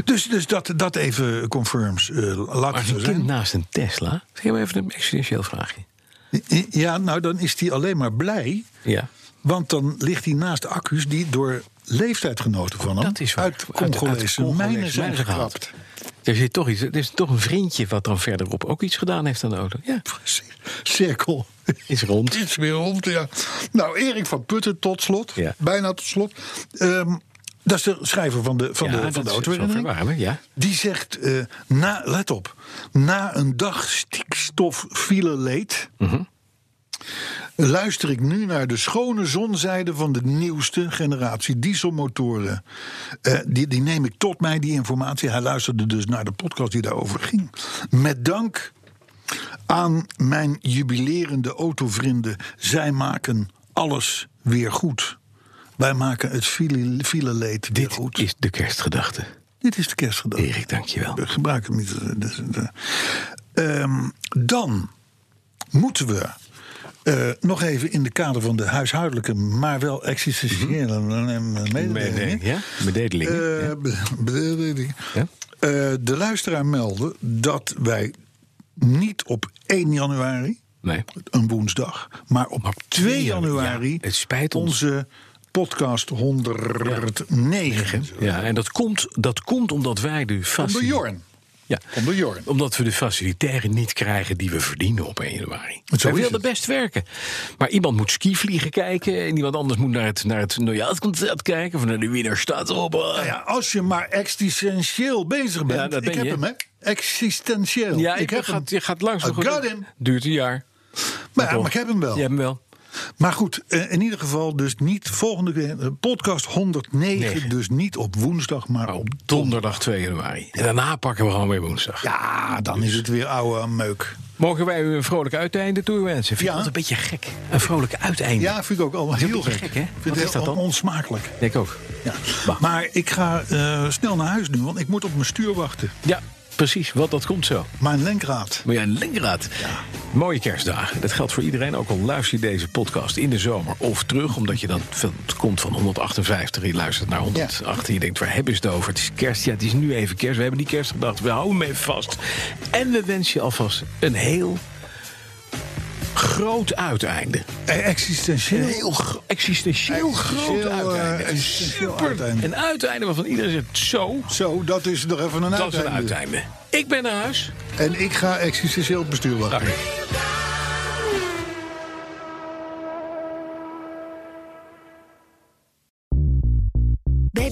Speaker 3: Dus, dus dat, dat even confirms. eh laat
Speaker 2: maar
Speaker 3: het
Speaker 2: een
Speaker 3: zo
Speaker 2: kind
Speaker 3: zijn.
Speaker 2: naast een Tesla... Zeg maar even een existentieel vraagje.
Speaker 3: Ja, nou dan is die alleen maar blij.
Speaker 2: Ja.
Speaker 3: Want dan ligt hij naast accu's die door leeftijdgenoten van hem
Speaker 2: Dat is waar.
Speaker 3: uit
Speaker 2: Uit- uit
Speaker 3: Congolese
Speaker 2: Congolese
Speaker 3: mijnen zijn
Speaker 2: mijnen gehaald.
Speaker 3: gekrapt.
Speaker 2: Er, zit toch iets, er is toch een vriendje wat dan verderop ook iets gedaan heeft aan de auto. Ja,
Speaker 3: Precies. Cirkel. [laughs]
Speaker 2: is rond.
Speaker 3: Iets weer rond, ja. Nou, Erik van Putten tot slot.
Speaker 2: Ja.
Speaker 3: Bijna tot slot. Ehm, dat is de schrijver van de, van
Speaker 2: ja,
Speaker 3: de, van de
Speaker 2: dat is wel
Speaker 3: autoherinnering.
Speaker 2: verwarmen, ja.
Speaker 3: Die zegt, eh, na, let op, na een dag stikstoffile leed... luister ik nu naar de schone zonzijde van de nieuwste generatie dieselmotoren. Eh, die, die neem ik tot mij, die informatie. Hij luisterde dus naar de podcast die daarover ging. Met dank aan mijn jubilerende autovrienden. Zij maken alles weer goed. Wij maken het file, fileleed weer
Speaker 2: Dit
Speaker 3: goed.
Speaker 2: is de kerstgedachte.
Speaker 3: Dit is de kerstgedachte.
Speaker 2: Erik, dankjewel.
Speaker 3: We gebruiken hem niet. Dus, eh, ehm, dan moeten we eh, nog even in de kader van de huishoudelijke, maar wel existentiële mededelingen.
Speaker 2: Mhm. ja? Mededelingen.
Speaker 3: eh,
Speaker 2: ja.
Speaker 3: be- bedeling.
Speaker 2: Ja.
Speaker 3: Eh, de luisteraar meldde dat wij niet op 1 januari,
Speaker 2: Nee.
Speaker 3: een woensdag, maar op
Speaker 2: Maar
Speaker 3: 2 januari
Speaker 2: ja, het spijt ons.
Speaker 3: onze podcast 109.
Speaker 2: Ja, en dat komt, dat komt omdat wij de faci-
Speaker 3: Onder Jorn.
Speaker 2: Ja.
Speaker 3: Onder Jorn.
Speaker 2: Omdat we de faciliteiten niet krijgen die we verdienen op 1 januari.
Speaker 3: is
Speaker 2: Wij
Speaker 3: het.
Speaker 2: wilden best werken. Maar iemand moet skivliegen kijken. En iemand anders moet naar het, naar het Nojaatconcert kijken. Of naar de Wiener Staatsop.
Speaker 3: Nou ja, als je maar existentieel bezig bent.
Speaker 2: Ja, dat ben
Speaker 3: ik heb
Speaker 2: je.
Speaker 3: hem, hè? Existentieel.
Speaker 2: Ja, ik
Speaker 3: heb
Speaker 2: gaat, je gaat langs.
Speaker 3: I
Speaker 2: nog een-
Speaker 3: got him. Oh.
Speaker 2: Duurt een jaar.
Speaker 3: Maar, ja,
Speaker 2: toch.
Speaker 3: maar ik heb hem wel.
Speaker 2: Je hebt hem wel.
Speaker 3: Maar goed, eh, in ieder geval dus niet volgende keer. eh, Podcast 109,
Speaker 2: Negen.
Speaker 3: dus niet op woensdag, maar
Speaker 2: Op
Speaker 3: op...
Speaker 2: donderdag 2 januari. En daarna pakken we gewoon weer woensdag.
Speaker 3: Ja,
Speaker 2: Dus-
Speaker 3: dan is het weer oude meuk.
Speaker 2: Mogen wij u een vrolijk uiteinde toewensen? Vind
Speaker 3: Ja.
Speaker 2: ik dat een beetje gek. Een vrolijk uiteinde.
Speaker 3: Ja, vind ik ook allemaal
Speaker 2: is een
Speaker 3: heel
Speaker 2: beetje
Speaker 3: gek.
Speaker 2: gek, hè?
Speaker 3: Vind
Speaker 2: Wat
Speaker 3: het
Speaker 2: is dat
Speaker 3: heel
Speaker 2: dan?
Speaker 3: Onsmakelijk.
Speaker 2: Ik ook.
Speaker 3: Ja.
Speaker 2: Bah.
Speaker 3: Maar ik ga eh, snel naar huis nu, want ik moet op mijn stuur wachten.
Speaker 2: Ja, precies, want dat komt zo.
Speaker 3: Mijn lenkraad.
Speaker 2: Maar ja, Linkraad. Mooie kerstdagen. Dat geldt voor iedereen. Ook al luister je deze podcast in de zomer of terug. Omdat je dan van- het komt van 158. Je luistert naar 118. Je denkt, waar hebben ze het over? Het is kerst. Ja, het is nu even kerst. We hebben die kerst gedacht. We houden hem even vast. En we wensen je alvast een heel groot uiteinde.
Speaker 3: Eh, Existentieel.
Speaker 2: Een heel gro- existentieel
Speaker 3: Existentieel,
Speaker 2: groot
Speaker 3: eh,
Speaker 2: uiteinde. Een
Speaker 3: existentieel
Speaker 2: super.
Speaker 3: uiteinde.
Speaker 2: Een uiteinde waarvan iedereen zegt, zo,
Speaker 3: Zo, dat is nog even een
Speaker 2: dat is een
Speaker 3: uiteinde.
Speaker 2: uiteinde. Ik ben naar huis.
Speaker 3: En ik ga existentieel bestuurbaar.
Speaker 2: Dag.
Speaker 6: Bij